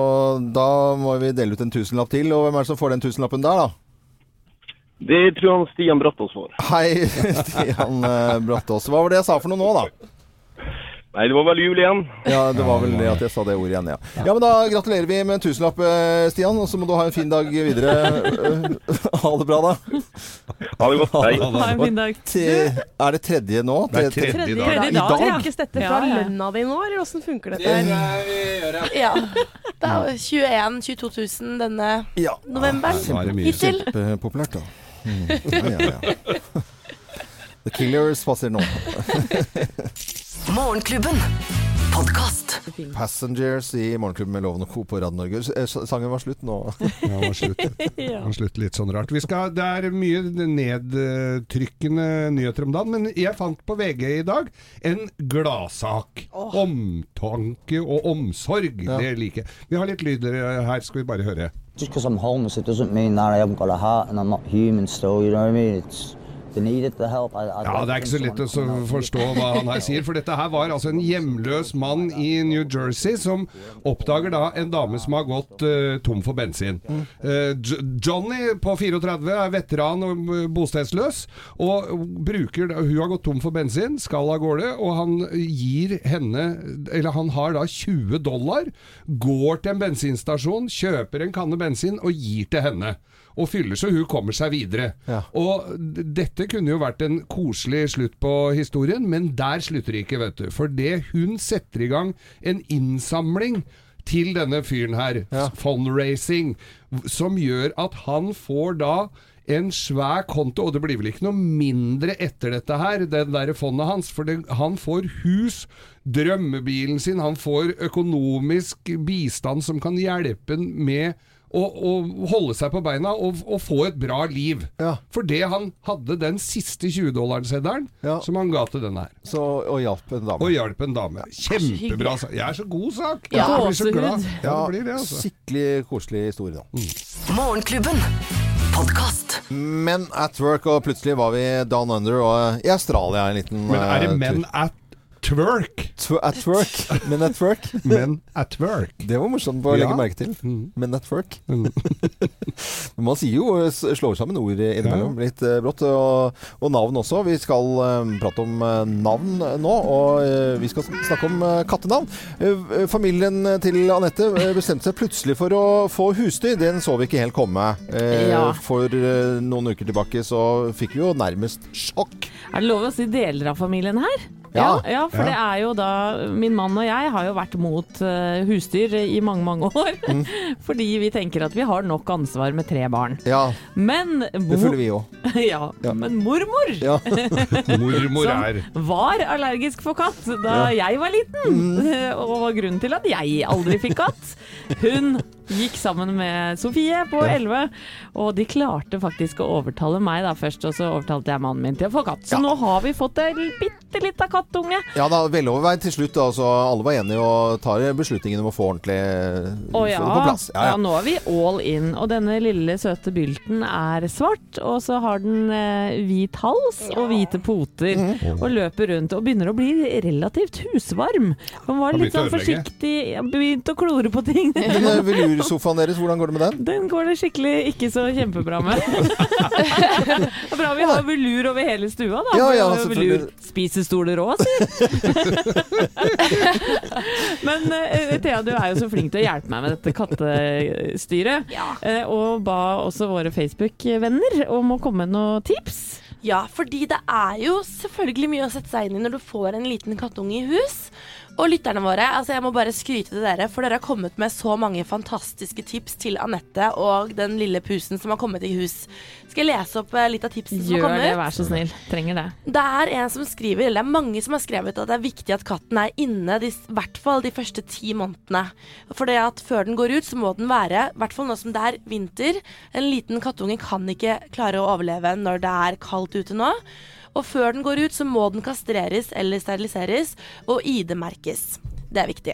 da må vi dele ut en tusenlapp til. Og hvem er det som får den tusenlappen der, da? Det tror jeg han Stian Brattås får. Hei, Stian eh, Brattås. Hva var det jeg sa for noe nå, da? Nei, det var vel jul igjen. Ja, det var vel det at jeg sa det ordet igjen, ja. Ja, men da gratulerer vi med en tusenlapp, eh, Stian. Og så må du ha en fin dag videre. Eh, Ha det bra, da. Ha det godt. Hei. Ha en fin dag. Og til- Er det tredje nå? Det er Tre- tredje I dag. dag? Trekkes dette fra Ja, ja. lønna di nå, eller åssen funker dette? Det her? Ja. Det er jo 21 22 000 denne Ja. novemberen Kjempe- hittil. Kjempepopulært, da. Mm. Ja, ja, ja. The Killers passer nå. Morgenklubben. Podkast. Passengers i Morgenklubben med Loven og Co. på Radio Norge. S- eh, Sangen var slutt nå. Ja, den var slutt. Ja. Den var slutt litt sånn rart. Vi skal, det er mye nedtrykkende nyheter om dagen, men jeg fant på VG i dag en gladsak. Omtanke og omsorg, det liker jeg. Vi har litt lyder her, skal vi bare høre. Just because I'm homeless, it doesn't mean that I haven't got a heart and I'm not human still, you know what I mean? It's, they needed the help. I, I Ja, Det er ikke så lett å så forstå hva han her sier. For dette her var altså en hjemløs mann i New Jersey som oppdager da en dame som har gått eh, tom for bensin. Eh, Jo- Johnny på 34 er veteran og eh, bostedsløs. Og bruker, da- hun har gått tom for bensin, skal av gårde, og han gir henne Eller han har da 20 dollar, går til en bensinstasjon, kjøper en kanne bensin og gir til henne og fyller så hun kommer seg videre. Og d- dette kunne jo vært en koselig slutt på historien, men der slutter det ikke, vet du. For det hun setter i gang en innsamling til denne fyren her, fundraising, v- som gjør at han får da en svær konto, og det blir vel ikke noe mindre etter dette her, den der fondet hans, for det, han får hus, drømmebilen sin, han får økonomisk bistand som kan hjelpe han med og, og holde seg på beina og, og få et bra liv. For det han hadde den siste 20-dollarseddelen som han ga til denne her. og hjalp en dame. Og hjalp en dame. Kjempebra sak. Jeg er så god sak! Ja. Jeg blir så glad. Gåsehud. Ja, det blir det, altså. Mm. Skikkelig koselig historie, da. Morgenklubben. Podkast. Men at work, og plutselig var vi down under og eh, i Australia en liten Men er det eh, men tur. at twerk? at work. Men at work. Men at work. Det var morsomt å Ja. legge merke til. Men at work. Men Man sier jo eh, s- slår sammen ord innimellom litt eh, brått. Og, og navn også. Vi skal eh, prate om eh, navn nå, og eh, vi skal snakke om eh, kattenavn. Eh, eh, Familien til Anette eh, bestemte seg plutselig for å få husdyr. Den så vi ikke helt komme. Eh, Ja. For eh, noen uker tilbake så fikk vi jo nærmest sjokk. Er det lov å si deler av familien her? Ja, ja, for det er jo da Min mann og jeg har jo vært mot eh, husdyr i mange, mange år. Fordi vi tenker at vi har nok ansvar med tre barn. Ja. Men Det føler vi òg. ja, Ja. men mormor Ja. Mormor Sånn. Som- er var allergisk for katt da jeg var liten. Mm. Og var grunnen til at jeg aldri fikk katt. Hun gikk sammen med Sofie på Ja. elleve, og de klarte faktisk å overtale meg da først, og så overtalte jeg mannen min til å få katt. Så Ja. nå har vi fått en bitte lita kattunge. Ja da, veloverveid til slutt. da, så alle var enige og tar beslutningen om å få ordentlig Å få ja. det på plass. ja, nå er vi all in. Og denne lille søte bylten er svart, og så har den eh, hvit hals og hvite poter. Mhm. Og løper rundt og begynner å bli relativt husvarm. Den var Har litt begynt å sånn ødelegge. forsiktig, ja, begynt å klore på ting. Den eh, velursofaen deres, hvordan går det med den? Den går det skikkelig ikke så kjempebra med. det er bra vi har velur over hele stua, Ja, da. for ja, det er jo selvfølgelig. velur. Spisestoler òg, si. Men eh, Thea, du er jo så flink til å hjelpe meg med dette kattestyret. Eh, og ba også våre Facebook-venner om å komme med noen tips. Ja, fordi det er jo selvfølgelig mye å sette seg inn i når du får en liten kattunge i hus. Og lytterne våre, altså jeg må bare skryte til dere, for dere har kommet med så mange fantastiske tips til Anette og den lille pusen som har kommet i hus. Skal jeg lese opp eh, litt av tipsene som har Gjør kommet? det, vær så snill. Trenger det. Det er en som skriver, eller det er mange som har skrevet at det er viktig at katten er inne de, i hvert fall de første ti månedene. For det at før den går ut, så må den være, i hvert fall nå som det er vinter En liten kattunge kan ikke klare å overleve når det er kaldt ute nå. Og før den går ut, så må den kastreres eller steriliseres og ID-merkes. Det er viktig.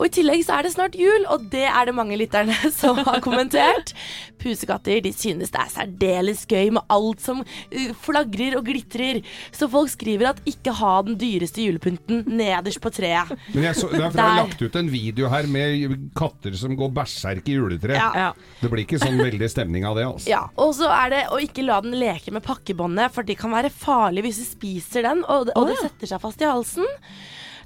Og i tillegg så er det snart jul, og det er det mange lytterne som har kommentert. Pusekatter de synes det er særdeles gøy med alt som uh, flagrer og glitrer. Så folk skriver at ikke ha den dyreste julepynten nederst på treet. Men jeg så, derfor har jeg Der. lagt ut en video her med katter som går berserk i juletreet. Ja. Ja. Det blir ikke sånn veldig stemning av det, altså. Ja, og så er det å ikke la den leke med pakkebåndet, for det kan være farlig hvis du spiser den, og, det- og det setter seg fast i halsen.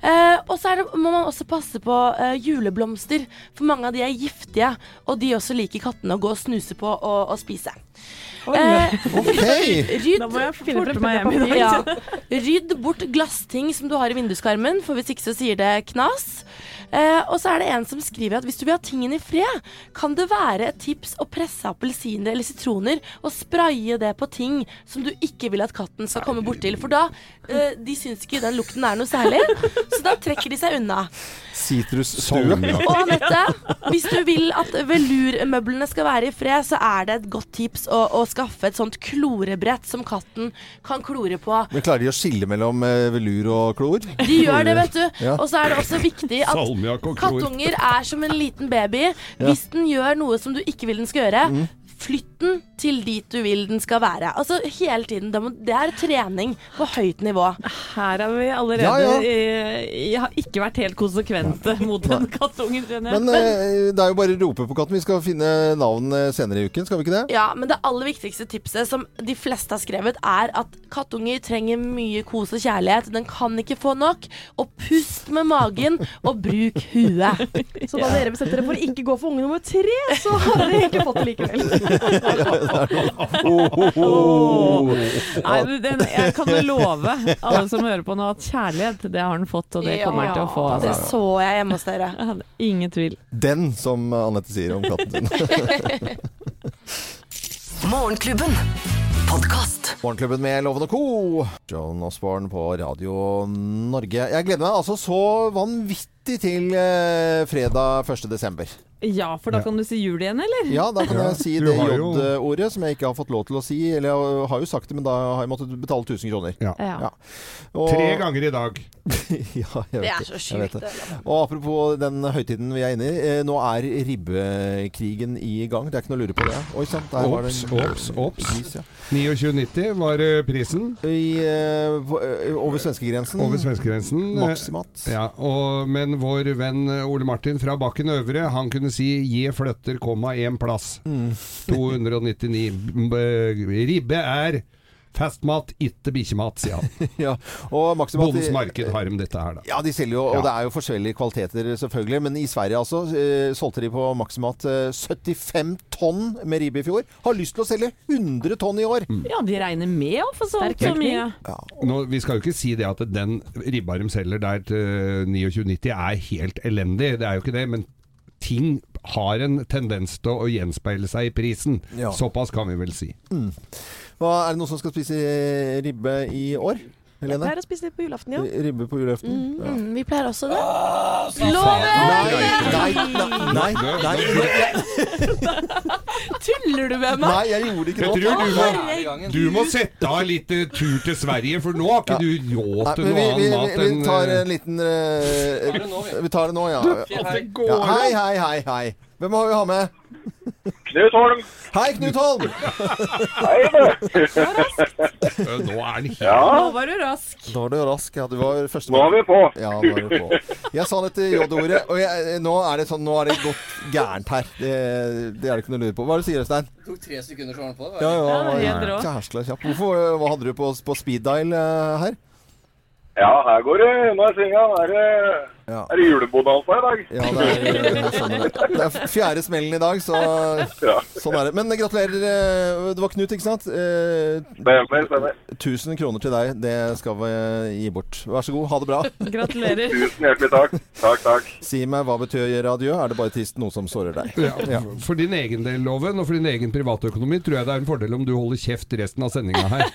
Eh, og så er det, må man også passe på eh, juleblomster, for mange av de er giftige, og de også liker kattene å gå og snuse på og, og spise. Eh, rydd, Da må jeg finne frem penna og papir. ja. Rydd bort glassting som du har i vinduskarmen, for hvis ikke så sier det knas. Eh, og så er det en som skriver at hvis du vil ha tingene i fred, kan det være et tips å presse appelsiner eller sitroner og spraye det på ting som du ikke vil at katten skal komme bortil. For da eh, de syns ikke den lukten er noe særlig, så da trekker de seg unna. Sitrusstue. Og Anette, hvis du vil at velurmøblene skal være i fred, så er det et godt tips å, å skaffe et sånt klorebrett som katten kan klore på. Men klarer de å skille mellom eh, velur og klor? De gjør det, vet du. Ja. Og så er det også viktig at Salmiakk og klor. kattunger er som en liten baby. Ja. Hvis den gjør noe som du ikke vil den skal gjøre, Mm. flytt den til dit du vil den skal være. Altså hele tiden. Det må- Det er trening på høyt nivå. Her har vi allerede Ja, ja. eh, Jeg har ikke vært helt konsekvente mot den kattungen, skjønner jeg. Men eh, det er jo bare å rope på katten. Vi skal finne navn eh, senere i uken, skal vi ikke det? Ja, men det aller viktigste tipset som de fleste har skrevet, er at kattunger trenger mye kos og kjærlighet. Den kan ikke få nok. Og pust med magen, og bruk huet. Så da dere bestemte dere for å ikke gå for unge nummer tre, så har dere egentlig fått det likevel. Nei, men den, jeg kan jo love alle som hører på nå, at kjærlighet, det har han fått, og det kommer han til å få. Ja, Det Altså. så jeg hjemme hos dere. Ingen tvil. Den, som Anette sier om katten sin. Morgenklubben. Podkast. Morgenklubben med Loven og Co. John Osborne på Radio Norge. Jeg gleder meg altså så vanvittig til eh, fredag 1. desember. Ja, for da kan du si jul igjen, eller? Ja, da kan jeg si det har jo- J-ordet som jeg ikke har fått lov til å si. Eller jeg har jo sagt det, men da har jeg måttet betale 1000 kroner. Ja. Tre ganger i dag. ja, jeg vet Det er så jeg vet sjukt, det. altså. Og apropos den høytiden vi er inne i. Eh, nå er ribbekrigen i gang. Det er ikke noe å lure på det. Oi, sant, der var det Ops, en- ops, ops. Is, ja. 29,90 var eh, prisen. eh, over svenskegrensen. Over svenskegrensen. Maksimat. Ja, og, men vår venn Ole Martin fra Bakken Øvre, han kunne si 'je fløtter, komma, én plass'. 299. B- eh, Ribbe er Fastmat, ikke bikkjemat, sier han. ja, og maksimat- Bondens marked har de dette her, da. Ja, de selger jo, og det er jo forskjellige kvaliteter selvfølgelig, men i Sverige altså, eh, solgte de på maksimat eh, 75 tonn med ribbe i fjor. Har lyst til å selge 100 tonn i år. Mm. Ja, de regner med å få solgt så mye. Nå, vi skal jo ikke si det at den ribba de selger der til 29,90 er helt elendig, det er jo ikke det. Men ting har en tendens til å gjenspeile seg i prisen. Ja. Såpass kan vi vel si. Mm. Hva, er det noen som skal spise ribbe i år? Jeg Helene? pleier å spise det på julaften, ja. R- Ribbe på julaften? Ja. Mm, vi pleier også det. Nei, nei, nei, nei, nei. Tuller du med meg? Nei, jeg gjorde ikke Jeg det. tror du må, du må sette av litt eh, tur til Sverige, for nå har ikke du råd Nei, til men noe vi, vi, annen mat vi, enn vi tar eh, en liten eh, Tar det nå, vi. Vi tar det nå, ja. Du, at det går ja hei, an. hei, hei, hei. Hvem har vi ha med? Knut Holm. Hei, Knut Holm. øh, Nå er den helt Nå var du rask. Nå er du rask. Ja, du var første Nå er vi på. Ja, nå er vi på. Jeg sa dette J-ordet, og jeg, nå er det sånn Nå er det gått gærent her. Det, det er det ikke noe å lure på. Hva er det du sier, Øystein? Det tok tre sekunder, så var den på. det, Ja, var det? ja, det ja, var helt rå. Kjærsla kjapp. Hvorfor, eh, hva hadde du på, på speed dial eh, her? Ja, her går det unna i svinga. Er det, er det julebonanza i dag? Ja, det er, jeg skjønner det. det er fjerde smellen i dag, så sånn er det. Men gratulerer. eh, Det var Knut, ikke sant? Eh, Stemmer, stemmer. 1000 kroner til deg, det skal vi gi bort. Vær så god, ha det bra. Gratulerer. Tusen hjertelig takk. Takk, takk. Si meg, hva betyr adjø? Er det bare trist noe som sårer deg? ja, Ja. For din egen del, Loven, og for din egen privatøkonomi, tror jeg det er en fordel om du holder kjeft resten av sendinga her.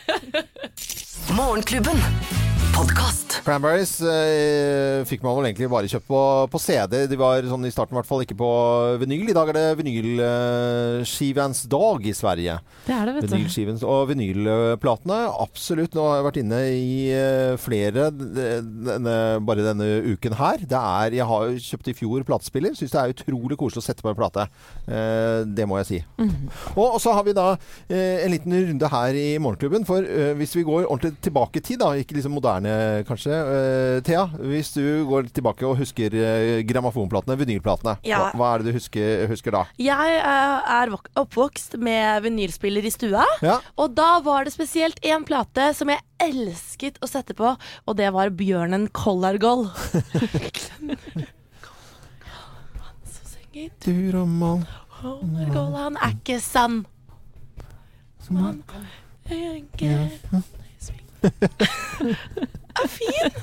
Morgenklubben. Podkast. Cranberries eh, fikk man vel egentlig bare kjøpt på, på CD. De var sånn i starten i hvert fall ikke på vinyl. I dag er det vinylskivens dag i Sverige. Det er det, vet du. Vinylskivens, og vinylplatene, absolutt. Nå har jeg vært inne i eh, flere denne, bare denne uken her. Det er, jeg har jo kjøpt i fjor platespiller. Syns det er utrolig koselig å sette på en plate. Eh, det må jeg si. Og, og så har vi da eh, en liten runde her i Morgenklubben. For eh, hvis vi går ordentlig tilbake i tid, da, ikke liksom moderne kanskje, eh, Thea. Hvis du går tilbake og husker eh, grammofonplatene, vinylplatene. Ja. Hva, hva er det du husker, husker da? Jeg eh, er vok- oppvokst med vinylspiller i stua, Ja. og da var det spesielt én plate som jeg elsket å sette på, og det var Bjørnen Kollargoll. Tur og mann Kollargoll, han er ikke sann. Som han tenker Er fin.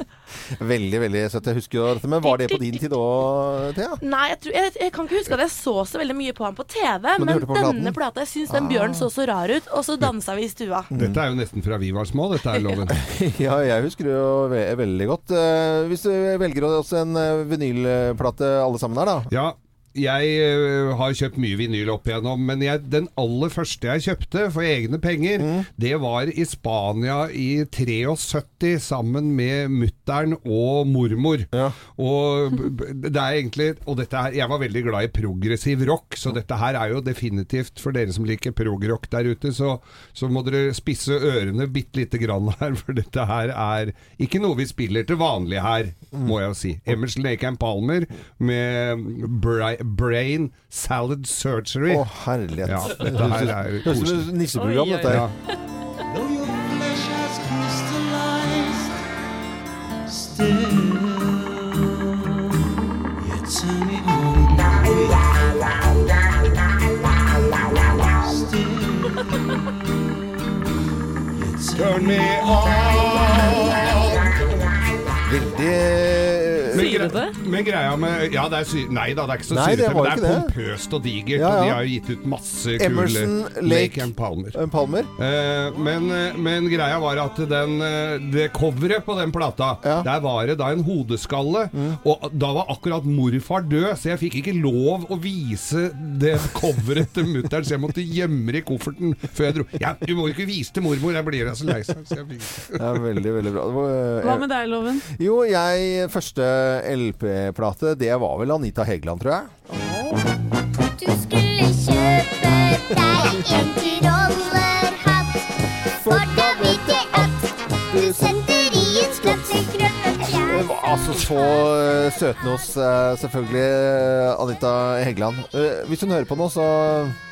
Veldig, veldig søtt. Jeg husker jo dette. Men var det på din tid òg, Thea? Nei, jeg, tror, jeg, jeg kan ikke huske at jeg så så veldig mye på ham på TV, du men, hørte på platen? denne plata Jeg syns den bjørnen så så rar ut, og så dansa vi i stua. Dette er jo nesten fra vi var små, dette er Loven. Ja, jeg husker det jo ve veldig godt. Eh, hvis du velger oss en eh, vinylplate alle sammen her, da. Ja, jeg ø, har kjøpt mye vinyl opp igjennom, men jeg, den aller første jeg kjøpte for egne penger, det var i Spania i 73 sammen med muttern og mormor. Og, b- b- det er egentlig, og dette her, jeg var veldig glad i progressiv rock, så dette her er jo definitivt for dere som liker progrock der ute, så, så må dere spisse ørene bitte lite grann her, for dette her er ikke noe vi spiller til vanlig her, må jeg jo si. Emerson Lake and Palmer med Bra- Brain Salad Surgery. Å, herlighet. Ja, dette her er Høres ut som et koselig. nisseprogram, dette. her. Ja. Turn me on. Veldig Men gre- Men greia med Ja, det er sy nei da, det er ikke så Nei, det syrete, men var det er ikke det. pompøst og digert. Ja, Og de ja. har jo gitt ut masse kule Emerson, Lake, and Palmer. eh, Palmer. Eh, men, eh, men greia var at den, eh, det coveret på den plata, der var det da en hodeskalle. Og da var akkurat morfar død, så jeg fikk ikke lov å vise det coveret til mutter'n, så jeg måtte gjemme det i kofferten før jeg dro. Ja, du må jo ikke vise til mormor, jeg blir da så lei seg. Så jeg fikk... Det er veldig, veldig bra. Det var, eh, Hva med deg, Loven? Jo, jeg Første LP-plate, det var vel Anita Hegeland, tror jeg. Du skulle kjøpe deg en trollerhatt, for da vet jeg at du sender i en skatt til grønne Det var Altså, så eh, søtende hos eh, selvfølgelig eh, Anita Heggeland. Eh, Hvis hun hører på nå, så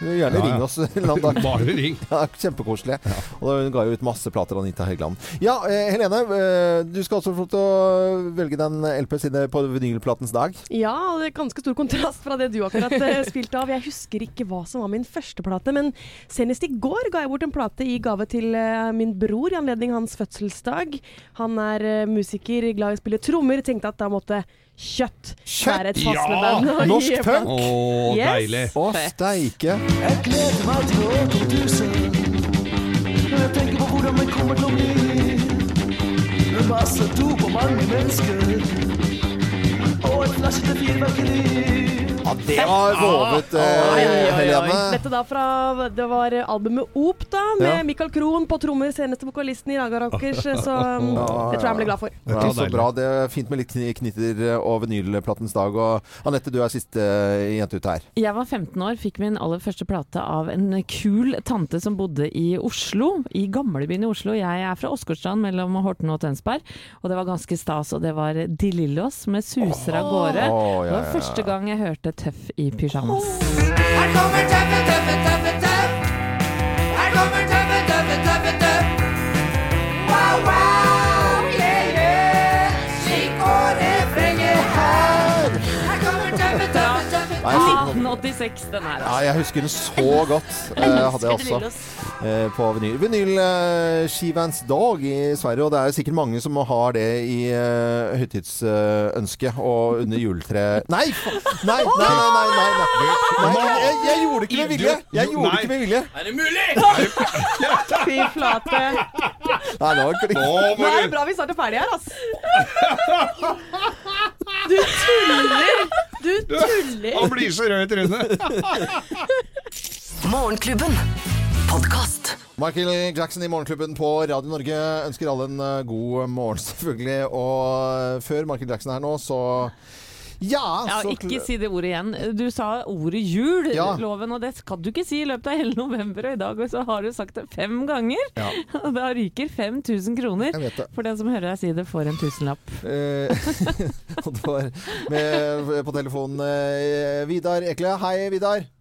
gjerne Ja, ja. ring oss en eller annen dag. Bare ring. Ja, kjempekoselig. Og da- hun ga jo ut masse plater, Anita Heggeland. Ja, eh, Helene, eh, du skal også få lov til å velge den LP siden på vinylplatens dag. Ja, og det er ganske stor kontrast fra det du akkurat eh, spilte av. Jeg husker ikke hva som var min første plate, men senest i går ga jeg bort en plate i gave til eh, min bror i anledning hans fødselsdag. Han er eh, musiker, glad i å spille trommer, tenkte at da måtte Kjøtt, være et passende band. å gi Norsk plate. punk! Å, Yes. deilig. Å, steike. Jeg gleder meg til år 2000 Når jeg tenker på hvordan det kommer til å bli Med masse dop og mange mennesker Og et flasjete fyrverkeri Ja, det var vovet, eh, Helene. Dette da fra Det var albumet Op, da, med Ja. Michael Krohn på trommer, seneste vokalisten i Raga Rockers, så um, det tror jeg han ble glad for. Ja, så bra. Det er fint med litt kni- knitter og vinylplatens dag. Og Anette, du er siste eh, jente ut her. Jeg var 15 år, fikk min aller første plate av en kul tante som bodde i Oslo. I gamlebyen i Oslo. Jeg er fra Åsgårdstrand mellom Horten og Tønsberg. Og det var ganske stas, og det var De Lillos med 'Suser av gårde'. Det Åh, ja, var ja, ja. første gang jeg hørte Tøff i pysjamas. Her kommer tøffe, tøffe, tøffe, tøff Her kommer tøffe, tøffe, tøffe, tøff Wow, wow, yeah, yeah Skikk og refrenget her Her kommer tøffe, tøffe, tøffe, Nei, jeg sitter- 1986 den her. altså. Ja, jeg husker den så godt. eh, hadde jeg også eh, på vinyl. Vinylskivans dag i Sverige, og det er sikkert mange som har det i eh, høytidsønsket og under juletreet Nei! fa- Nei, nei, nei! nei, nei, nei. nei jeg, jeg gjorde det ikke med vilje! Jeg gjorde det ikke med vilje. Er det mulig? Fy flate. Nei, det var ikke Nå er det bra vi snart er ferdige her, altså. ass. Du tuller! Du tuller! Han blir så rød i trynet. Morgenklubben. Podkast. Michael Jackson i Morgenklubben på Radio Norge ønsker alle en eh, god morgen, selvfølgelig. Og eh, før Michael Jackson er her nå, så Ja, Ja, så ikke si det ordet igjen. Du sa ordet jul, Ja. loven, og det skal du ikke si i løpet av hele november. Og i dag så har du sagt det fem ganger. Ja. Og da ryker 5000 kroner. For den som hører deg si det, får en tusenlapp. Eh, og det var med på telefonen eh, Vidar Ekle. Hei, Vidar.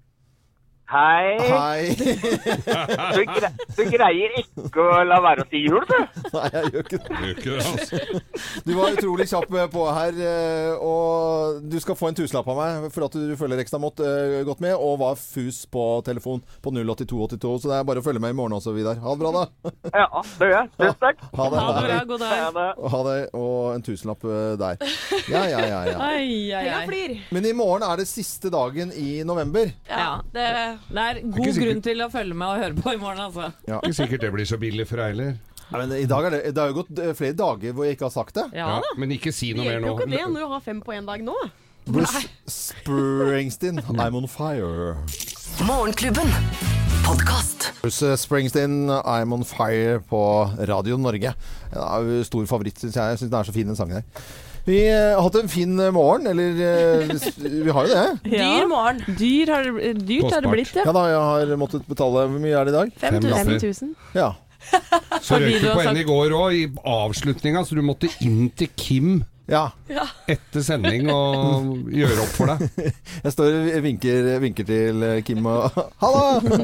Hei. Hei. Du, gre du greier ikke å la være å si jul, du. Nei, jeg gjør ikke det. Ikke det, altså. Du var utrolig kjapp på her, eh, og du skal få en tusenlapp av meg for at du følger ekstra mått, eh, godt med, og var fus på telefon på 08282, så det er bare å følge med i morgen også, Vidar. Ha det bra, da. Ja, det gjør jeg. Tusen takk. Ha det. Ha det bra, god dag. Ha det. Ha det, og en tusenlapp eh, der. Ja, ja, ja. ja. Helga flyr. Men i morgen er det siste dagen i november. Ja, det, det er Ikke god sikkert. grunn til å følge med og høre på i morgen, altså. Ikke sikkert det blir så billig for deg heller. Nei, men i dag er det, det har jo gått eh, flere dager hvor jeg ikke har sagt det. Ja, men ikke si Det noe mer hjelper nå. jo ikke det når du har fem på én dag nå. Bruce Springsteen, I'm on fire. Morgenklubben. Podkast. Bruce Springsteen, I'm on fire på Radio Norge. Det er jo stor favoritt, syns jeg. Jeg syns den er så fin, den sangen her. Vi eh, har hatt en fin eh, morgen, eller eh, s- Vi har jo det. Dyr morgen. Dyr har, dyrt har det blitt, Ja da, jeg har måttet betale Hvor mye er det i dag? Fem tusen. Fem tusen. Ja. Så Fordi røyk du du har på en sagt- i går òg, i avslutninga, så du måtte inn til Kim Ja. etter sending og gjøre opp for deg. Jeg står og vinker, vinker til Kim og Halla!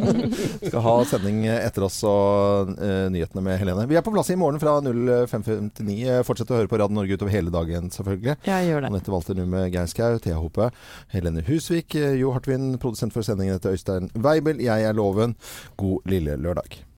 Skal ha sending etter oss og eh, nyhetene med Helene. Vi er på plass i morgen fra 05.59. Eh, Fortsett å høre på Radio Norge utover hele dagen, selvfølgelig. Ja, gjør det. Anette Walter nå med Geir Skau, Thea Hope, Helene Husvik, eh, Jo Hartvin, produsent for sendingen etter Øystein Weibel. Jeg er Loven. God lille lørdag.